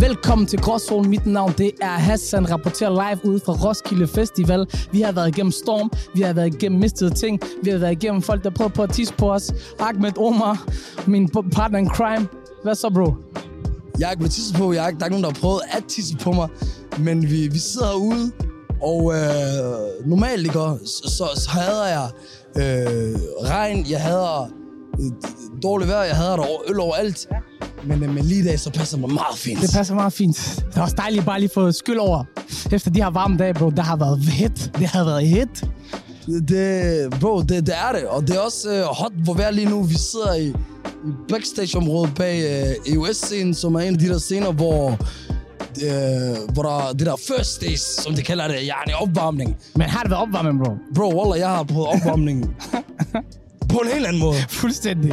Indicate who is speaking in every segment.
Speaker 1: Velkommen til Gråzonen. Mit navn det er Hassan, rapporterer live ude fra Roskilde Festival. Vi har været igennem storm, vi har været igennem mistede ting, vi har været igennem folk, der prøver på at tisse på os. Ahmed Omar, min partner in crime. Hvad så, bro?
Speaker 2: Jeg er ikke blevet tisset på. Jeg er ikke, der er ikke nogen, der har prøvet at tisse på mig. Men vi, vi sidder herude, og øh, normalt ikke, så, så, så hader jeg øh, regn, jeg hader øh, dårligt vejr, jeg hader der over- øl overalt. Men, øh, men lige i dag, så passer det mig meget fint.
Speaker 1: Det passer meget fint. Det er også dejligt bare lige at få skyld over. Efter de her varme dage, bro, der har været hit. Det har været hit.
Speaker 2: Det, bro, det, det er det. Og det er også øh, hot, hvor vejr lige nu. Vi sidder i, i backstage-området bag øh, EOS-scenen, som er en af de der scener, hvor, øh, hvor der, det der first days, som de kalder det, jeg er en opvarmning.
Speaker 1: Men har det været opvarmning, bro?
Speaker 2: Bro, Wallah, jeg har prøvet opvarmningen på en helt anden måde.
Speaker 1: Fuldstændig.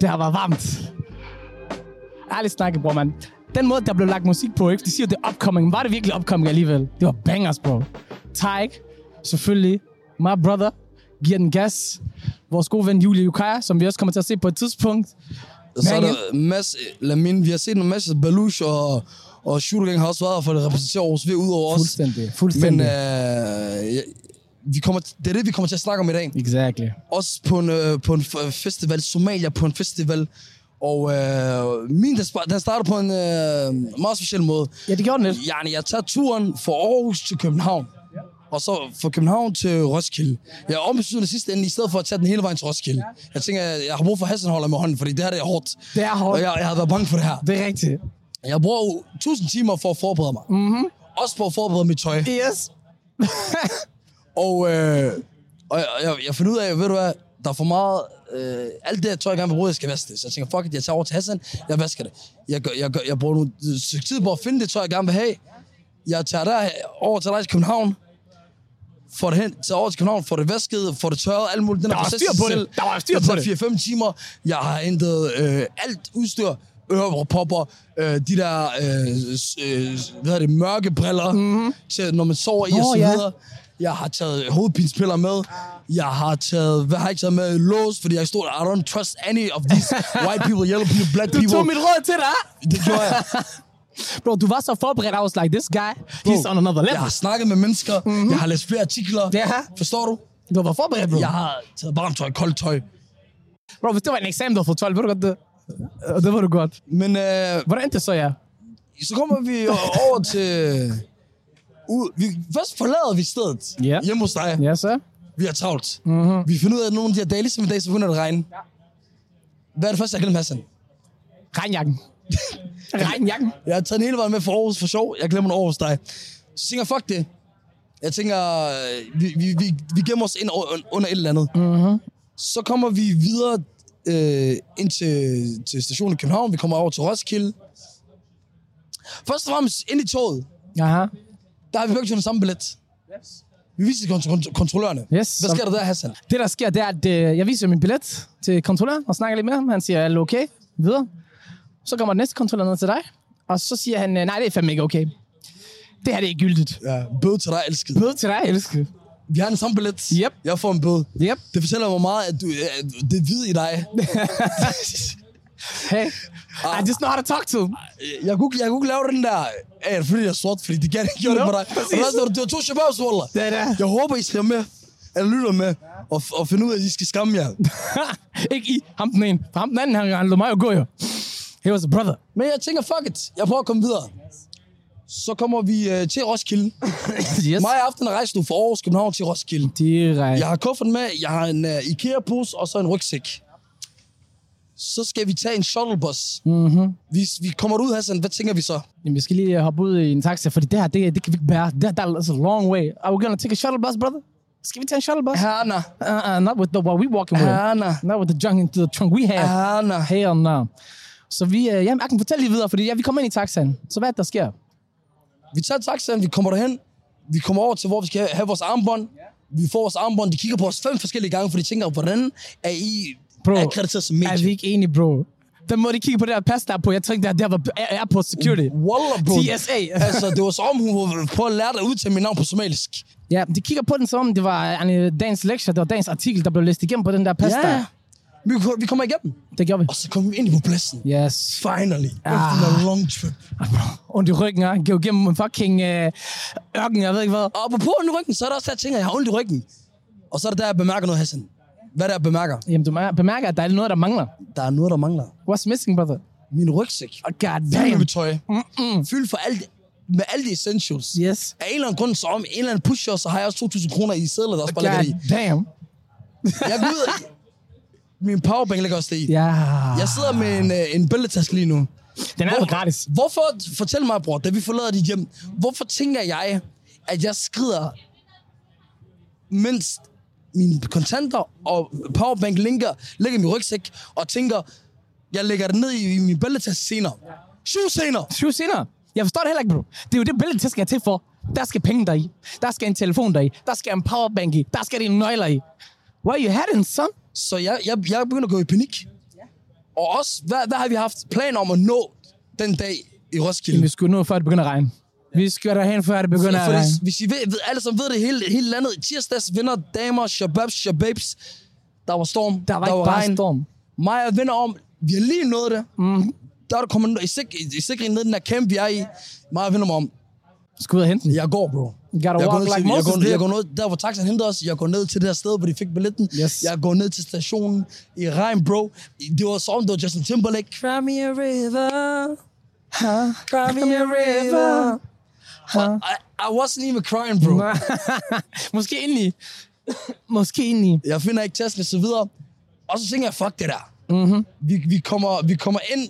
Speaker 1: Det har været varmt. Ærligt snakket, bror, mand. Den måde, der blev lagt musik på, ikke? De siger, det er upcoming. Var det virkelig upcoming alligevel? Det var bangers, bro. Tyke, selvfølgelig. My brother. Giver den gas. Vores gode ven Julie Yukaya, som vi også kommer til at se på et tidspunkt.
Speaker 2: Så er
Speaker 1: Men-
Speaker 2: der Mads Lamin. Vi har set en masse Balush og, og Shootergang har også været her for at repræsentere Aarhus V udover os.
Speaker 1: Fuldstændig.
Speaker 2: Men
Speaker 1: Fuldstændig.
Speaker 2: øh,
Speaker 1: Men,
Speaker 2: ja, vi kommer, det er det, vi kommer til at snakke om i dag.
Speaker 1: uh... Exactly.
Speaker 2: Også på en, øh, på en f- festival. Somalia på en festival. Og øh, min, den spa- den starter på en øh, meget speciel måde.
Speaker 1: Ja, det gjorde den lidt.
Speaker 2: Yani, jeg tager turen fra Aarhus til København. Og så fra København til Roskilde. Jeg ombesøger det sidste ende, i stedet for at tage den hele vejen til Roskilde. Jeg tænker, jeg, jeg har brug for Hassenholder med hånden, fordi det her det er hårdt.
Speaker 1: Det er hårdt.
Speaker 2: Og jeg, jeg har været bange for det her.
Speaker 1: Det er rigtigt.
Speaker 2: Jeg bruger jo 1000 timer for at forberede mig.
Speaker 1: Mhm.
Speaker 2: Mm-hmm. Også for at forberede mit tøj.
Speaker 1: Yes.
Speaker 2: Og, øh, og jeg, jeg, jeg finder ud af, ved du hvad, der er for meget... Øh, alt det her tøj, jeg gerne vil bruge, jeg skal vaske det. Så jeg tænker, fuck it, jeg tager over til Hassan, jeg vasker det. Jeg, gør, jeg, gør, jeg bruger nu et stykke tid på at finde det tøj, jeg gerne vil have. Jeg tager der over til dig til København, får det hen, tager over til København, får det vasket, får det tørret, alt muligt. Den
Speaker 1: Der var
Speaker 2: proces
Speaker 1: styr
Speaker 2: i sig
Speaker 1: på det.
Speaker 2: selv.
Speaker 1: Der var styr
Speaker 2: Det
Speaker 1: på
Speaker 2: tager
Speaker 1: det.
Speaker 2: 4-5 timer. Jeg har hentet øh, alt udstyr. Ørepropper, øh, de der øh, s- øh, hvad hedder det, mørke briller, mm-hmm. til, når man sover i og
Speaker 1: Mhm. Nå,
Speaker 2: så
Speaker 1: ja.
Speaker 2: videre. Jeg har taget hovedpinspiller med. Jeg har taget, hvad har jeg taget med? Lås, fordi jeg stod, I don't trust any of these white people, yellow people, black
Speaker 1: Du
Speaker 2: people.
Speaker 1: tog mit råd til dig.
Speaker 2: Det gjorde jeg.
Speaker 1: Bro, du var så forberedt. I was like, this guy, he's on another
Speaker 2: Jeg
Speaker 1: level.
Speaker 2: har snakket med mennesker. Mm-hmm. Jeg har læst flere artikler.
Speaker 1: Mhm. Ja.
Speaker 2: Forstår du?
Speaker 1: Du var forberedt, bro.
Speaker 2: Jeg har taget varmt tøj, koldt tøj.
Speaker 1: Bro, hvis det var en eksamen, du havde fået 12, ved du godt det? Øh, Det var du godt.
Speaker 2: Men øh,
Speaker 1: Hvordan endte det så, ja?
Speaker 2: så kommer vi over til... Ud. Vi, først forlader vi stedet
Speaker 1: Ja.
Speaker 2: hjemme hos dig.
Speaker 1: Ja, Mhm. så.
Speaker 2: Vi har travlt. Mm-hmm. Vi finder ud af, at nogle af de her dage, ligesom i dag, så begynder det at regne. Hvad er det første, jeg glemmer, Hassan?
Speaker 1: Regnjakken. Regnjakken.
Speaker 2: Jeg har taget den hele vejen med fra Aarhus for sjov. Jeg glemmer den Aarhus dig. Så tænker jeg, fuck det. Jeg tænker, øh, vi, vi, vi, vi gemmer os ind o- under et eller andet. Mm-hmm. Så kommer vi videre øh, ind til, til stationen i København. Vi kommer over til Roskilde. Først og fremmest, ind i toget,
Speaker 1: Aha.
Speaker 2: der har vi begge to den samme billet. Vi viser det til kont- kontrollørerne.
Speaker 1: Yes,
Speaker 2: Hvad
Speaker 1: som-
Speaker 2: sker der der, Hassan?
Speaker 1: Det, der sker, det er, at øh, jeg viser min billet til kontrolløren og snakker lidt med ham. Han siger, er det okay? Videre. Så kommer den næste kontrollør ned til dig. Og så siger han, øh, nej, det er fandme ikke okay. Det her, det er gyldigt.
Speaker 2: Ja, bøde til dig, elskede.
Speaker 1: Bøde til dig, elskede.
Speaker 2: Vi har den samme billet.
Speaker 1: Yep.
Speaker 2: Jeg får en bøde.
Speaker 1: Yep.
Speaker 2: Det fortæller mig meget, at du, øh, at det er hvid i dig.
Speaker 1: Hey. I just know how to talk to him.
Speaker 2: Øh, jeg kunne, ikke- jeg kunne ikke lave den der, "Hey, er det fordi jeg er sort, fordi det gerne gjorde det
Speaker 1: Nå,
Speaker 2: for dig. Og
Speaker 1: præcis.
Speaker 2: der står, det var to shababs, wallah.
Speaker 1: Det er det.
Speaker 2: Jeg håber, I ser med, eller lytter med, og, f- og finder ud af, at I skal skamme jer.
Speaker 1: ikke i ham den ene. For ham den anden, han, han lod mig jo gå jo. He was a brother.
Speaker 2: Men jeg tænker, fuck it, jeg prøver at komme videre. Så kommer vi øh, til Roskilde.
Speaker 1: Yes.
Speaker 2: Mig og aften rejser du fra Aarhus, København til Roskilde.
Speaker 1: Direkte.
Speaker 2: Jeg har kufferten med, jeg har en uh, IKEA-pose og så en rygsæk. Så skal vi tage en shuttlebus. Mm-hmm. Vi, vi kommer ud, Hassan, hvad tænker vi så?
Speaker 1: Jamen, vi skal lige øh, hoppe ud i en taxa, fordi det her, det, det kan vi ikke bære. Det her, der er a long way. Are we gonna take a shuttle bus, brother? Skal vi tage en shuttle bus?
Speaker 2: Hana,
Speaker 1: Uh, uh, not with the, what we walking with. Uh,
Speaker 2: Hana,
Speaker 1: Not with the junk into the trunk we have.
Speaker 2: Hana.
Speaker 1: Hell no. Så vi, uh, jamen, Akken, fortæl lige videre, fordi ja, vi kommer ind i taxaen. Så hvad er det, der sker?
Speaker 2: Vi tager taxaen, vi kommer derhen, vi kommer over til, hvor vi skal have vores armbånd. Vi får vores armbånd, de kigger på os fem forskellige gange, for de tænker, hvordan er I
Speaker 1: Bro,
Speaker 2: Bro, akkrediteret som
Speaker 1: Er vi
Speaker 2: medie?
Speaker 1: ikke enige, bro? Den måde, de kigge på det her pas, der er på, jeg tænkte, at det her var A- airport security.
Speaker 2: Wallah, bro.
Speaker 1: TSA.
Speaker 2: altså, det var så om, hun prøvede at lære dig at udtale mit navn på somalisk.
Speaker 1: øh, ja, de kigger på den, som om det var en dagens lektie, det var dagens artikel, der blev læst igennem på den der pas, der.
Speaker 2: Vi, ko- vi kommer igennem.
Speaker 1: Det gjorde vi.
Speaker 2: Og så kommer vi ind på pladsen.
Speaker 1: Yes.
Speaker 2: Finally.
Speaker 1: Ah.
Speaker 2: Efter en long trip.
Speaker 1: Ondt i ryggen, ja. Gå igennem en fucking øh, ørken, jeg ved ikke hvad.
Speaker 2: Og på ondt i ryggen, så er der også der, jeg tænker, jeg har ondt i ryggen. Og så er det der, jeg bemærker noget, Hassan. Hvad er det, jeg bemærker?
Speaker 1: Jamen, du mær- bemærker, at der er noget, der mangler.
Speaker 2: Der er noget, der mangler.
Speaker 1: What's missing, brother?
Speaker 2: Min rygsæk.
Speaker 1: Oh, God
Speaker 2: Fyldt
Speaker 1: damn.
Speaker 2: med tøj. Fyldt for alt, med alle de essentials.
Speaker 1: Yes.
Speaker 2: Af en eller anden grund, så om en eller anden pusher, så har jeg også 2.000 kroner i sædler, der også bare ligger
Speaker 1: God
Speaker 2: i.
Speaker 1: damn.
Speaker 2: Jeg går ud, min powerbank ligger også i.
Speaker 1: Ja.
Speaker 2: Jeg sidder med en, øh, en bæltetask lige nu.
Speaker 1: Den er jo
Speaker 2: Hvor-
Speaker 1: gratis.
Speaker 2: Hvorfor, fortæl mig, bror, da vi forlader dit hjem, hvorfor tænker jeg, at jeg skrider, mens mine kontanter og powerbank linker, ligger i min rygsæk, og tænker, jeg lægger det ned i, i min bæltetaske senere. Syv senere!
Speaker 1: Syv senere. Jeg forstår det heller ikke, bro. Det er jo det billede, der skal jeg til for. Der skal penge deri. Der skal en telefon deri. Der skal en powerbank i. Der skal dine nøgler i. Where you heading, son?
Speaker 2: Så jeg, jeg, jeg begynder at gå i panik. Og også, hvad, hvad har vi haft planer om at nå den dag i Roskilde?
Speaker 1: Vi skulle nå, før det begynder at regne. Vi skal derhen, før det begynder at
Speaker 2: For
Speaker 1: regne.
Speaker 2: hvis, hvis I ved, ved, alle sammen ved det hele, hele landet, tirsdags vinder damer, shababs, shababs. Der var storm,
Speaker 1: Der var ikke bare storm. Mhm.
Speaker 2: Maja vinder om, vi har lige nået det. Mm. Der er du kommet i, sik- i, i sikring ned i den der camp, vi er i. Maja vinder mig om,
Speaker 1: Skal ud og hente den.
Speaker 2: jeg går, bro.
Speaker 1: gotta
Speaker 2: jeg, går
Speaker 1: walk
Speaker 2: ned
Speaker 1: like
Speaker 2: til, jeg,
Speaker 1: Moses
Speaker 2: går, ned-
Speaker 1: did.
Speaker 2: jeg går ned, der hvor taxaen hentede os, jeg går ned til det her sted, hvor de fik billetten.
Speaker 1: Yes.
Speaker 2: Jeg går ned til stationen i regn, bro. Det var sådan, det var Justin Timberlake. Cry me a river. Cry me a river. I, I wasn't even crying, bro.
Speaker 1: Måske indeni. Måske indeni.
Speaker 2: jeg finder ikke tasken og så videre. Og så tænker jeg, fuck det der. Mm-hmm. Vi, vi, kommer, vi kommer ind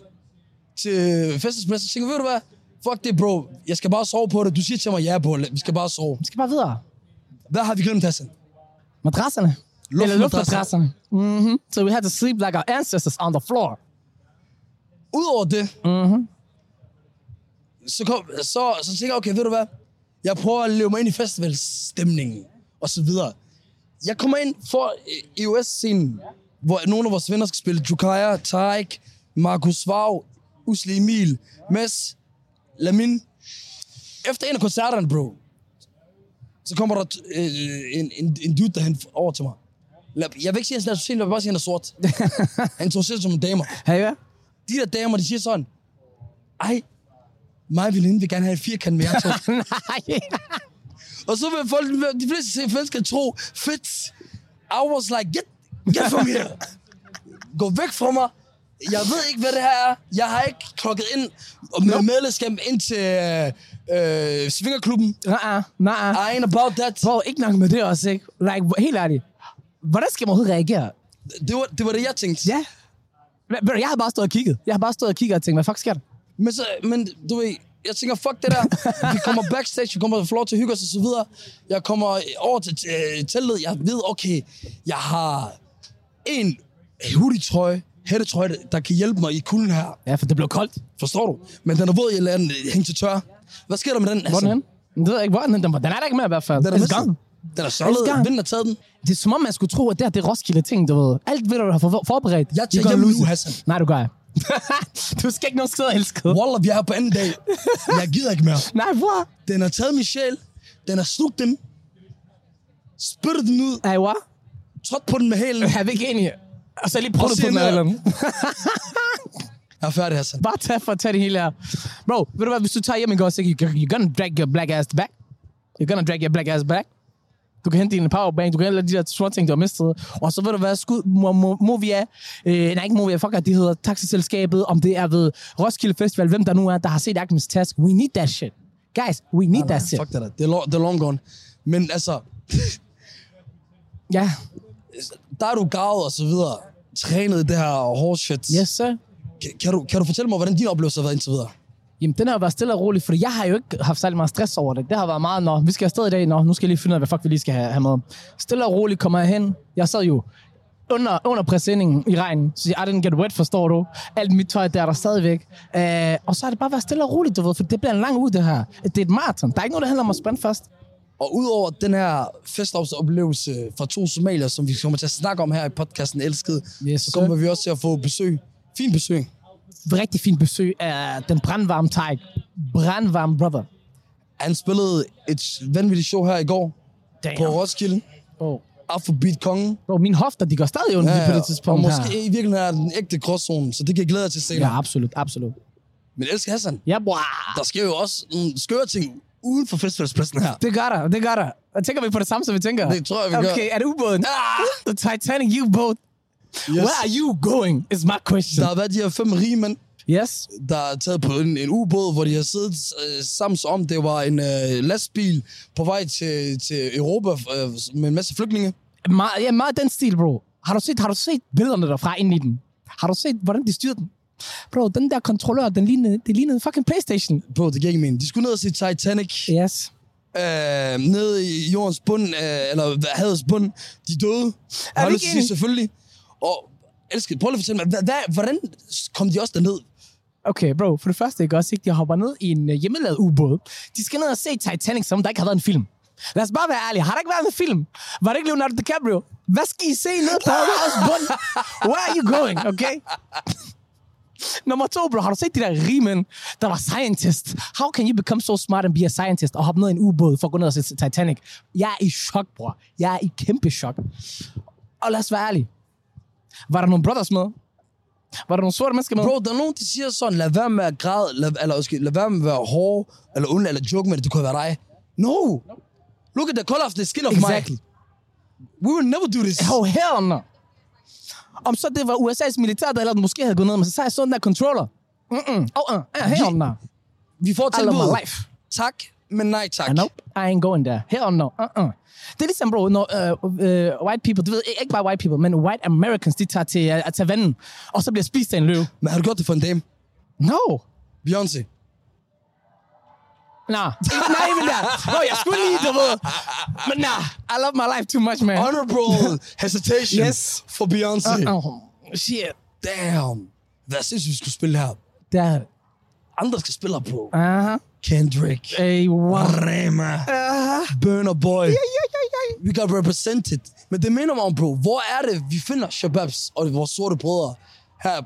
Speaker 2: til festespladsen, og tænker, ved du hvad? Fuck det, bro. Jeg skal bare sove på det. Du siger til mig, ja, bro. Vi skal bare sove.
Speaker 1: Vi skal bare videre.
Speaker 2: Hvad har vi glemt, Hassan?
Speaker 1: Madrasserne. Eller
Speaker 2: Luftmadrasser.
Speaker 1: luftmadrasserne. Mm-hmm. So we had to sleep like our ancestors on the floor.
Speaker 2: Udover det, mm-hmm. så, kom, så, så tænker jeg, okay, ved du hvad? Jeg prøver at leve mig ind i festivalstemningen, og så videre. Jeg kommer ind for EOS-scenen, hvor nogle af vores venner skal spille. Jukaya, Tarik, Markus Vav, Usli Emil, Mads, Lamin. Efter en af koncerterne, bro, så kommer der øh, en, en, en dude, der han over til mig. La- Jeg vil ikke sige, at han er nationalitet, jeg vil bare sige, at han er sort. han tog sig som en damer
Speaker 1: Hey, hvad?
Speaker 2: de der damer, de siger sådan, ej, mig og veninde vil gerne have en firkant med jer to.
Speaker 1: Nej.
Speaker 2: og så vil folk, de fleste mennesker tro, fedt, I was like, get, get from here. Gå væk fra mig. Jeg ved ikke, hvad det her er. Jeg har ikke klokket ind og med medlemskab ind til øh, øh, Svingerklubben.
Speaker 1: Nej, nej.
Speaker 2: I ain't about that.
Speaker 1: Bro, ikke nok med det også, ikke? Like, hvor- helt ærligt. Hvordan skal man overhovedet reagere?
Speaker 2: Det var, det var det, jeg tænkte.
Speaker 1: Ja. Men- men Jeg har bare stået og kigget. Jeg har bare stået og kigget og tænkt, hvad fuck sker der?
Speaker 2: Men, så, men du ved, jeg tænker, fuck det der. Vi kommer backstage, vi kommer og får lov til at hygge os og så videre. Jeg kommer over til øh, teltet, jeg ved, okay, jeg har en hoodie-trøje, hættetrøje, der- der kan hjælpe mig i kulden her.
Speaker 1: Ja, for det blev koldt.
Speaker 2: Forstår du? Men den er våd, jeg lader den øh, hænge til tør. Hvad sker der med den?
Speaker 1: Hvor er den henne? Det ved jeg ikke, hvor er den henne. Den- Den er der ikke mere i hvert fald.
Speaker 2: Den er, mistet.
Speaker 1: gone.
Speaker 2: den er
Speaker 1: It's gone.
Speaker 2: sørlet, vinden har taget den.
Speaker 1: Det er som om, man skulle tro, at det her det er Roskilde-ting, du ved. Alt, hvad du har for- forberedt.
Speaker 2: Jeg
Speaker 1: you're
Speaker 2: tager
Speaker 1: gonna
Speaker 2: hjem
Speaker 1: lose
Speaker 2: nu,
Speaker 1: it.
Speaker 2: Hassan.
Speaker 1: Nej, du gør jeg. du skal ikke nogen steder, elskede.
Speaker 2: Wallah, vi er her på anden dag. Jeg gider ikke mere.
Speaker 1: Nej, hvor?
Speaker 2: Den har taget min sjæl. Den har slugt den. Spyttet den ud.
Speaker 1: Ej, hvor?
Speaker 2: Trådt på den med hælen.
Speaker 1: Jeg er ikke enig. Og så lige prøve
Speaker 2: Og
Speaker 1: det på den
Speaker 2: senere.
Speaker 1: eller andet.
Speaker 2: Jeg er færdig, Hassan.
Speaker 1: Bare tag for at tage det hele her. Bro, ved du hvad, hvis du tager hjem i går, så you- you're gonna drag your black ass back. You're gonna drag your black ass back. Du kan hente din powerbank, du kan hente alle de der små ting, du har mistet. Og så ved du hvad, skud Mo- Mo- Movia, øh, nej ikke Movia, fuck at det hedder taxiselskabet, om det er ved Roskilde Festival, hvem der nu er, der har set Ahmeds task. We need that shit. Guys, we need that shit.
Speaker 2: Fuck det der. Det er, lo- det er long gone. Men altså,
Speaker 1: Ja,
Speaker 2: der er du gavet og så videre. Trænet i det her horse shit.
Speaker 1: yes sir.
Speaker 2: Kan, kan, du, kan du fortælle mig, hvordan din oplevelse har været indtil videre?
Speaker 1: Jamen, den har jo været stille og rolig, for jeg har jo ikke haft særlig meget stress over det. Det har været meget, når vi skal afsted i dag, når nu skal jeg lige finde ud af, hvad fuck vi lige skal have, have med. Stille og roligt kommer jeg hen. Jeg sad jo under, under præsendingen i regnen, så jeg, I didn't get wet, forstår du. Alt mit tøj, der er der stadigvæk. Øh, og så har det bare været stille og roligt, du ved, for det bliver en lang ud, det her. Det er et maraton. Der er ikke noget, der handler om at spænde først.
Speaker 2: Og udover den her festopsoplevelse fra to somalier, som vi kommer til at snakke om her i podcasten Elskede,
Speaker 1: Yes,
Speaker 2: så
Speaker 1: sir.
Speaker 2: kommer vi også til at få besøg. Fin besøg.
Speaker 1: Rigtig fint besøg af den brandvarme Tyke. Brandvarme brother.
Speaker 2: Han spillede et vanvittigt show her i går
Speaker 1: Damn.
Speaker 2: på Roskilde.
Speaker 1: Oh.
Speaker 2: Afrobeat kongen.
Speaker 1: Bro, mine hofter, de går stadig ondt ja, på det tidspunkt
Speaker 2: og
Speaker 1: her.
Speaker 2: måske i virkeligheden er den ægte crosszone, så det kan jeg glæde jer til senere.
Speaker 1: Ja, absolut, absolut.
Speaker 2: Men elsker Hassan,
Speaker 1: Ja, bro.
Speaker 2: der sker jo også nogle skøre ting uden for festivalspladsen her.
Speaker 1: Det gør der, det gør der. Og tænker vi på det samme, som vi tænker?
Speaker 2: Det tror jeg, vi gør.
Speaker 1: Okay, er det ubåden? Ah! The Titanic U-boat.
Speaker 2: Yes.
Speaker 1: Where are you going, is my question.
Speaker 2: Der har været de her fem rige mænd,
Speaker 1: Yes.
Speaker 2: der er taget på en, en ubåd, hvor de har siddet øh, sammen som om det var en øh, lastbil på vej til, til Europa øh, med en masse flygtninge.
Speaker 1: Meget, ja, meget den stil, bro. Har du set, har du set billederne derfra ind i den? Har du set, hvordan de styrer den? Bro, den der kontrollør, den lignede, det lignede en fucking Playstation.
Speaker 2: Bro, det giver ikke mening. De skulle ned og se Titanic.
Speaker 1: Yes.
Speaker 2: Øh, ned i jordens bund, øh, eller hvad- havets bund. De døde. Jeg har
Speaker 1: vi
Speaker 2: lyst
Speaker 1: ikke
Speaker 2: til at sige
Speaker 1: enige?
Speaker 2: selvfølgelig. Og elsker, prøv lige at fortælle mig, hvad, hvad, hvordan kom de også derned?
Speaker 1: Okay, bro, for det første, ikke også, ikke? De hopper ned i en øh, hjemmelavet ubåd. De skal ned og se Titanic, som om der ikke har været en film. Lad os bare være ærlige. Har der ikke været en film? Var det ikke Leonardo DiCaprio? Hvad skal I se ned på havets bund? Where are you going, okay? Nummer to, bro, har du set de der rige mænd, der var scientist? How can you become so smart and be a scientist og hoppe ned i en ubåd for at gå ned og se Titanic? Jeg er i chok, bror. Jeg er i kæmpe chok. Og lad os være ærlige. Var der nogle brothers med? Var der nogle sorte mennesker med?
Speaker 2: Bro, der er nogen, der siger sådan, lad være med at græde, lad, eller undskyld, lad være med at være hård, eller ond, eller joke med det, det kunne være dig. No! Look at the color of the skin of
Speaker 1: Exactly.
Speaker 2: my... We will never do this.
Speaker 1: Oh, hell no. Om så det var USA's militær, der ellers måske havde gået ned, men så sagde jeg sådan der controller. Mm-mm. Oh, uh, uh, hell no.
Speaker 2: Vi får
Speaker 1: I love
Speaker 2: tilbud.
Speaker 1: my life.
Speaker 2: Tak, men nej tak.
Speaker 1: Uh, nope, I ain't going there. Hell no. Uh-uh. Det er ligesom, bro, når uh, uh, white people, du ved ikke bare white people, men white Americans, de tager til, uh, til vandet, og så bliver spist af en løve.
Speaker 2: Men har du gjort det for en dame?
Speaker 1: No.
Speaker 2: Beyoncé.
Speaker 1: Nah. Ikke- Nej, men der. Bro, jeg skulle lige, du ved. Men nah, I love my life too much, man.
Speaker 2: Honorable hesitation
Speaker 1: Yes.
Speaker 2: for Beyoncé.
Speaker 1: Uh-uh. Shit.
Speaker 2: Damn. Hvad synes vi skulle spille her?
Speaker 1: Det er det.
Speaker 2: Andre skal spille her på.
Speaker 1: Uh-huh.
Speaker 2: Kendrick.
Speaker 1: Hey, what?
Speaker 2: Rema. Uh-huh. Burner Boy.
Speaker 1: Uh-uh. Yeah, yeah, yeah.
Speaker 2: We got represented. Men det minder mig om, bro. Hvor er det, vi finder shababs og vores sorte brødre her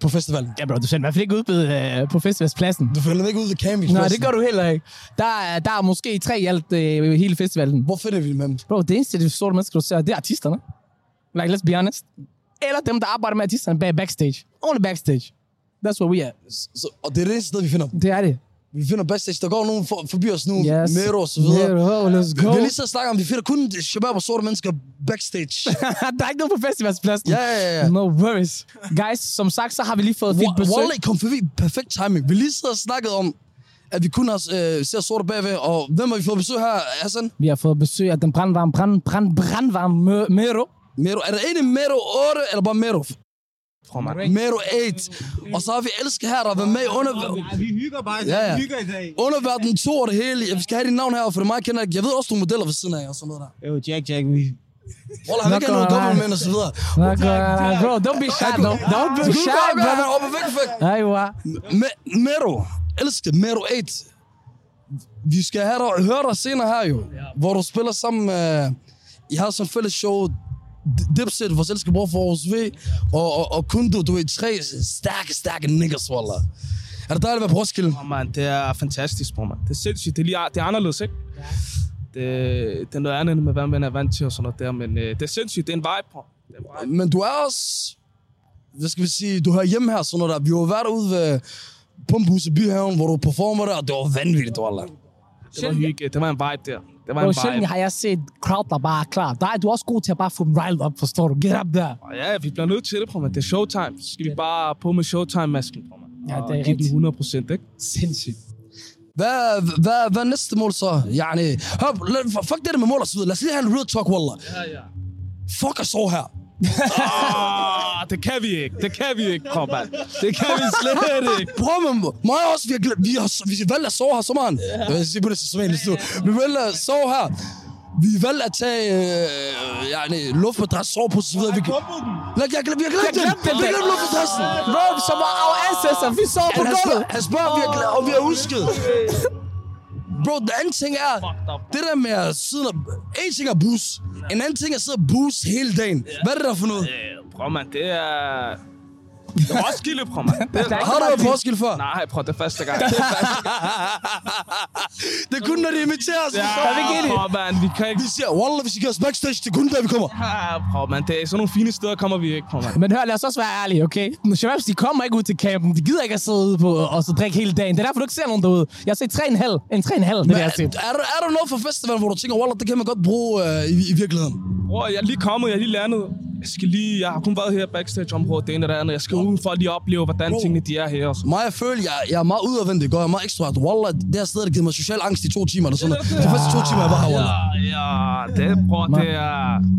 Speaker 2: på festivalen?
Speaker 1: Ja, bro, du sendte i hvert fald ikke udbud øh, på festivalspladsen.
Speaker 2: Du finder dem ikke ud ved camping.
Speaker 1: Nej, det gør du heller ikke. Der er, der er måske tre i alt øh, hele festivalen.
Speaker 2: Hvor finder vi dem henne?
Speaker 1: Bro, det eneste, det sorte mennesker, du ser, det er artisterne. Like, let's be honest. Eller dem, der arbejder med artisterne bag backstage. Only backstage. That's what we are.
Speaker 2: Så, og det er det eneste sted, vi finder dem.
Speaker 1: Det er det.
Speaker 2: Vi finder backstage. Der går nogen for, forbi os nu.
Speaker 1: Yes.
Speaker 2: Mero og så videre.
Speaker 1: Mero, let's
Speaker 2: Vi
Speaker 1: go.
Speaker 2: har lige så snakket om, vi finder kun shabab og sorte mennesker backstage.
Speaker 1: der er ikke nogen på festivalspladsen.
Speaker 2: Ja, ja, ja.
Speaker 1: No worries. Guys, som sagt, så har vi lige fået fint besøg.
Speaker 2: Wally kom forbi. Perfekt timing. Vi lige sidder og snakket om, at vi kun har, øh, ser sorte bagved. Og hvem har vi fået besøg her, Hassan?
Speaker 1: Vi har fået besøg af den brandvarme, brand, brand, brandvarme Mø- Mero.
Speaker 2: Mero. Er der en i Mero 8, eller bare Mero?
Speaker 1: Prøv mig.
Speaker 2: Mero 8. Og så har vi Elske her, der har været med i under...
Speaker 3: Ja, vi hygger bare.
Speaker 2: Ja, ja.
Speaker 3: Vi hygger i dag.
Speaker 2: Underverden 2 og det hele. Jeg skal have dit navn her, for det er mig, jeg kender. Jeg ved også, du er modeller ved siden af, og sådan noget der.
Speaker 3: Jo, Jack, Jack, vi...
Speaker 2: Roller, han
Speaker 1: Nå,
Speaker 2: ikke er noget
Speaker 1: går
Speaker 2: gammel
Speaker 1: han.
Speaker 2: mænd og så videre.
Speaker 1: Bro, don't be shy, though. Don't be
Speaker 2: Du
Speaker 1: shy,
Speaker 2: kan
Speaker 1: brother.
Speaker 2: være oppe væk, væk.
Speaker 1: Ej, wow.
Speaker 2: Me- Mero. Elske Mero 8. Vi skal have dig, høre dig senere her jo, hvor du spiller sammen med... I har sådan en fælles show, D- Dipset, vores elskede bror for Aarhus V, og, og, og Kundu, du er tre stærke, stærke niggas, wallah. Er det dejligt at være på Roskilde?
Speaker 4: Bror, man, det er fantastisk, bror, man. Det er sindssygt. Det er, lige, det er anderledes, ikke? Ja. Det, det er noget andet, end med, hvad man er vant til og sådan noget der, men øh, det er sindssygt. Det er en vibe, bror. Det er en vibe.
Speaker 2: Men du er også, hvad skal vi sige, du hører hjemme her, sådan noget der. Vi var været ude ved Pumphuset Byhaven, hvor du performer der, og det var vanvittigt, wallah.
Speaker 4: Det var hygge. Det var en vibe der. Det var
Speaker 1: Og
Speaker 4: en
Speaker 1: sjældent
Speaker 4: vibe.
Speaker 1: har jeg set crowd, der bare er klar. Der er du er også god til at bare få dem riled op, forstår du? Get up der.
Speaker 4: Og ja, vi bliver nødt til det, bror, man. Det er showtime. Så skal vi bare på med showtime-masken, bror, man.
Speaker 1: Ja,
Speaker 4: Og
Speaker 1: det er
Speaker 4: give den
Speaker 1: rigtigt.
Speaker 4: 100 procent, ikke?
Speaker 1: Sindssygt.
Speaker 2: Hvad, hvad, hvad er næste mål så? Yani, hør, lad, fuck det der med mål og så videre. Lad os lige have en real talk, wallah.
Speaker 4: Ja, ja.
Speaker 2: Fuck os over her.
Speaker 4: Ah, det kan vi ikke. Det kan vi ikke, bror, man. Det kan vi slet ikke.
Speaker 2: Prøv med mig og os, vi har, glemt- vi har vi valgt at sove her sommeren. Jeg vil sige på det som eneste nu. Vi valgte at sove her. Vi valgte at tage øh, yani, luftmadras, sovepose og så videre. Vi, kan- Lad- jeg, glemt- vi har glemt
Speaker 1: Jeg
Speaker 2: den.
Speaker 1: glemte den.
Speaker 2: Vi har glemt luftmadrassen.
Speaker 1: Bro, som var our ancestors, vi så på
Speaker 2: Han, han,
Speaker 1: gulvet.
Speaker 2: spørger, han spørger, om vi har, gla- om vi har husket. Bro, den anden ting er, det der med at sidde og... En ting er bus. En anden ting er at sidde og bus hele dagen. Hvad er det der for noget?
Speaker 4: Øh, Bror, man, det er... Roskilde, bror, mand. Det er-
Speaker 2: Har du været på Roskilde før?
Speaker 4: Nej, bror, det er første gang. Det er første gang.
Speaker 2: Det er kun, når de inviterer os. Ja.
Speaker 1: vi ikke enige?
Speaker 4: Bror, mand, vi kan ikke...
Speaker 2: Vi siger, Wallah, hvis I gør os backstage, det er kun der, vi kommer.
Speaker 4: Ah, bror, mand, det er sådan nogle fine steder, kommer vi ikke, bror, mand.
Speaker 1: Men hør, lad os også være ærlige, okay? Shababs, de kommer ikke ud til campen. De gider ikke at sidde ude på og så drikke hele dagen. Det er derfor, du ikke ser nogen derude. Jeg har set 3,5. En 3,5, det er jeg har set.
Speaker 2: Er, der- er der noget for festival, hvor du tænker, Wallah, det kan man godt bruge øh, i, i virkeligheden?
Speaker 4: Bror, jeg er lige kommet, jeg er lige landet. Jeg, skal lige, jeg har kun været her backstage-området, det ene og det andet. Jeg skal udenfor lige opleve, hvordan
Speaker 2: Bro.
Speaker 4: tingene de er her. Og sådan.
Speaker 2: Mig, jeg føler, jeg, jeg er meget udadvendt, det går. Jeg er meget ekstrovert. Wallah, det her sted, det giver mig social angst i to timer eller sådan noget. De første to timer, jeg var her,
Speaker 4: Ja,
Speaker 2: Wallah.
Speaker 4: ja, det, bror, det er...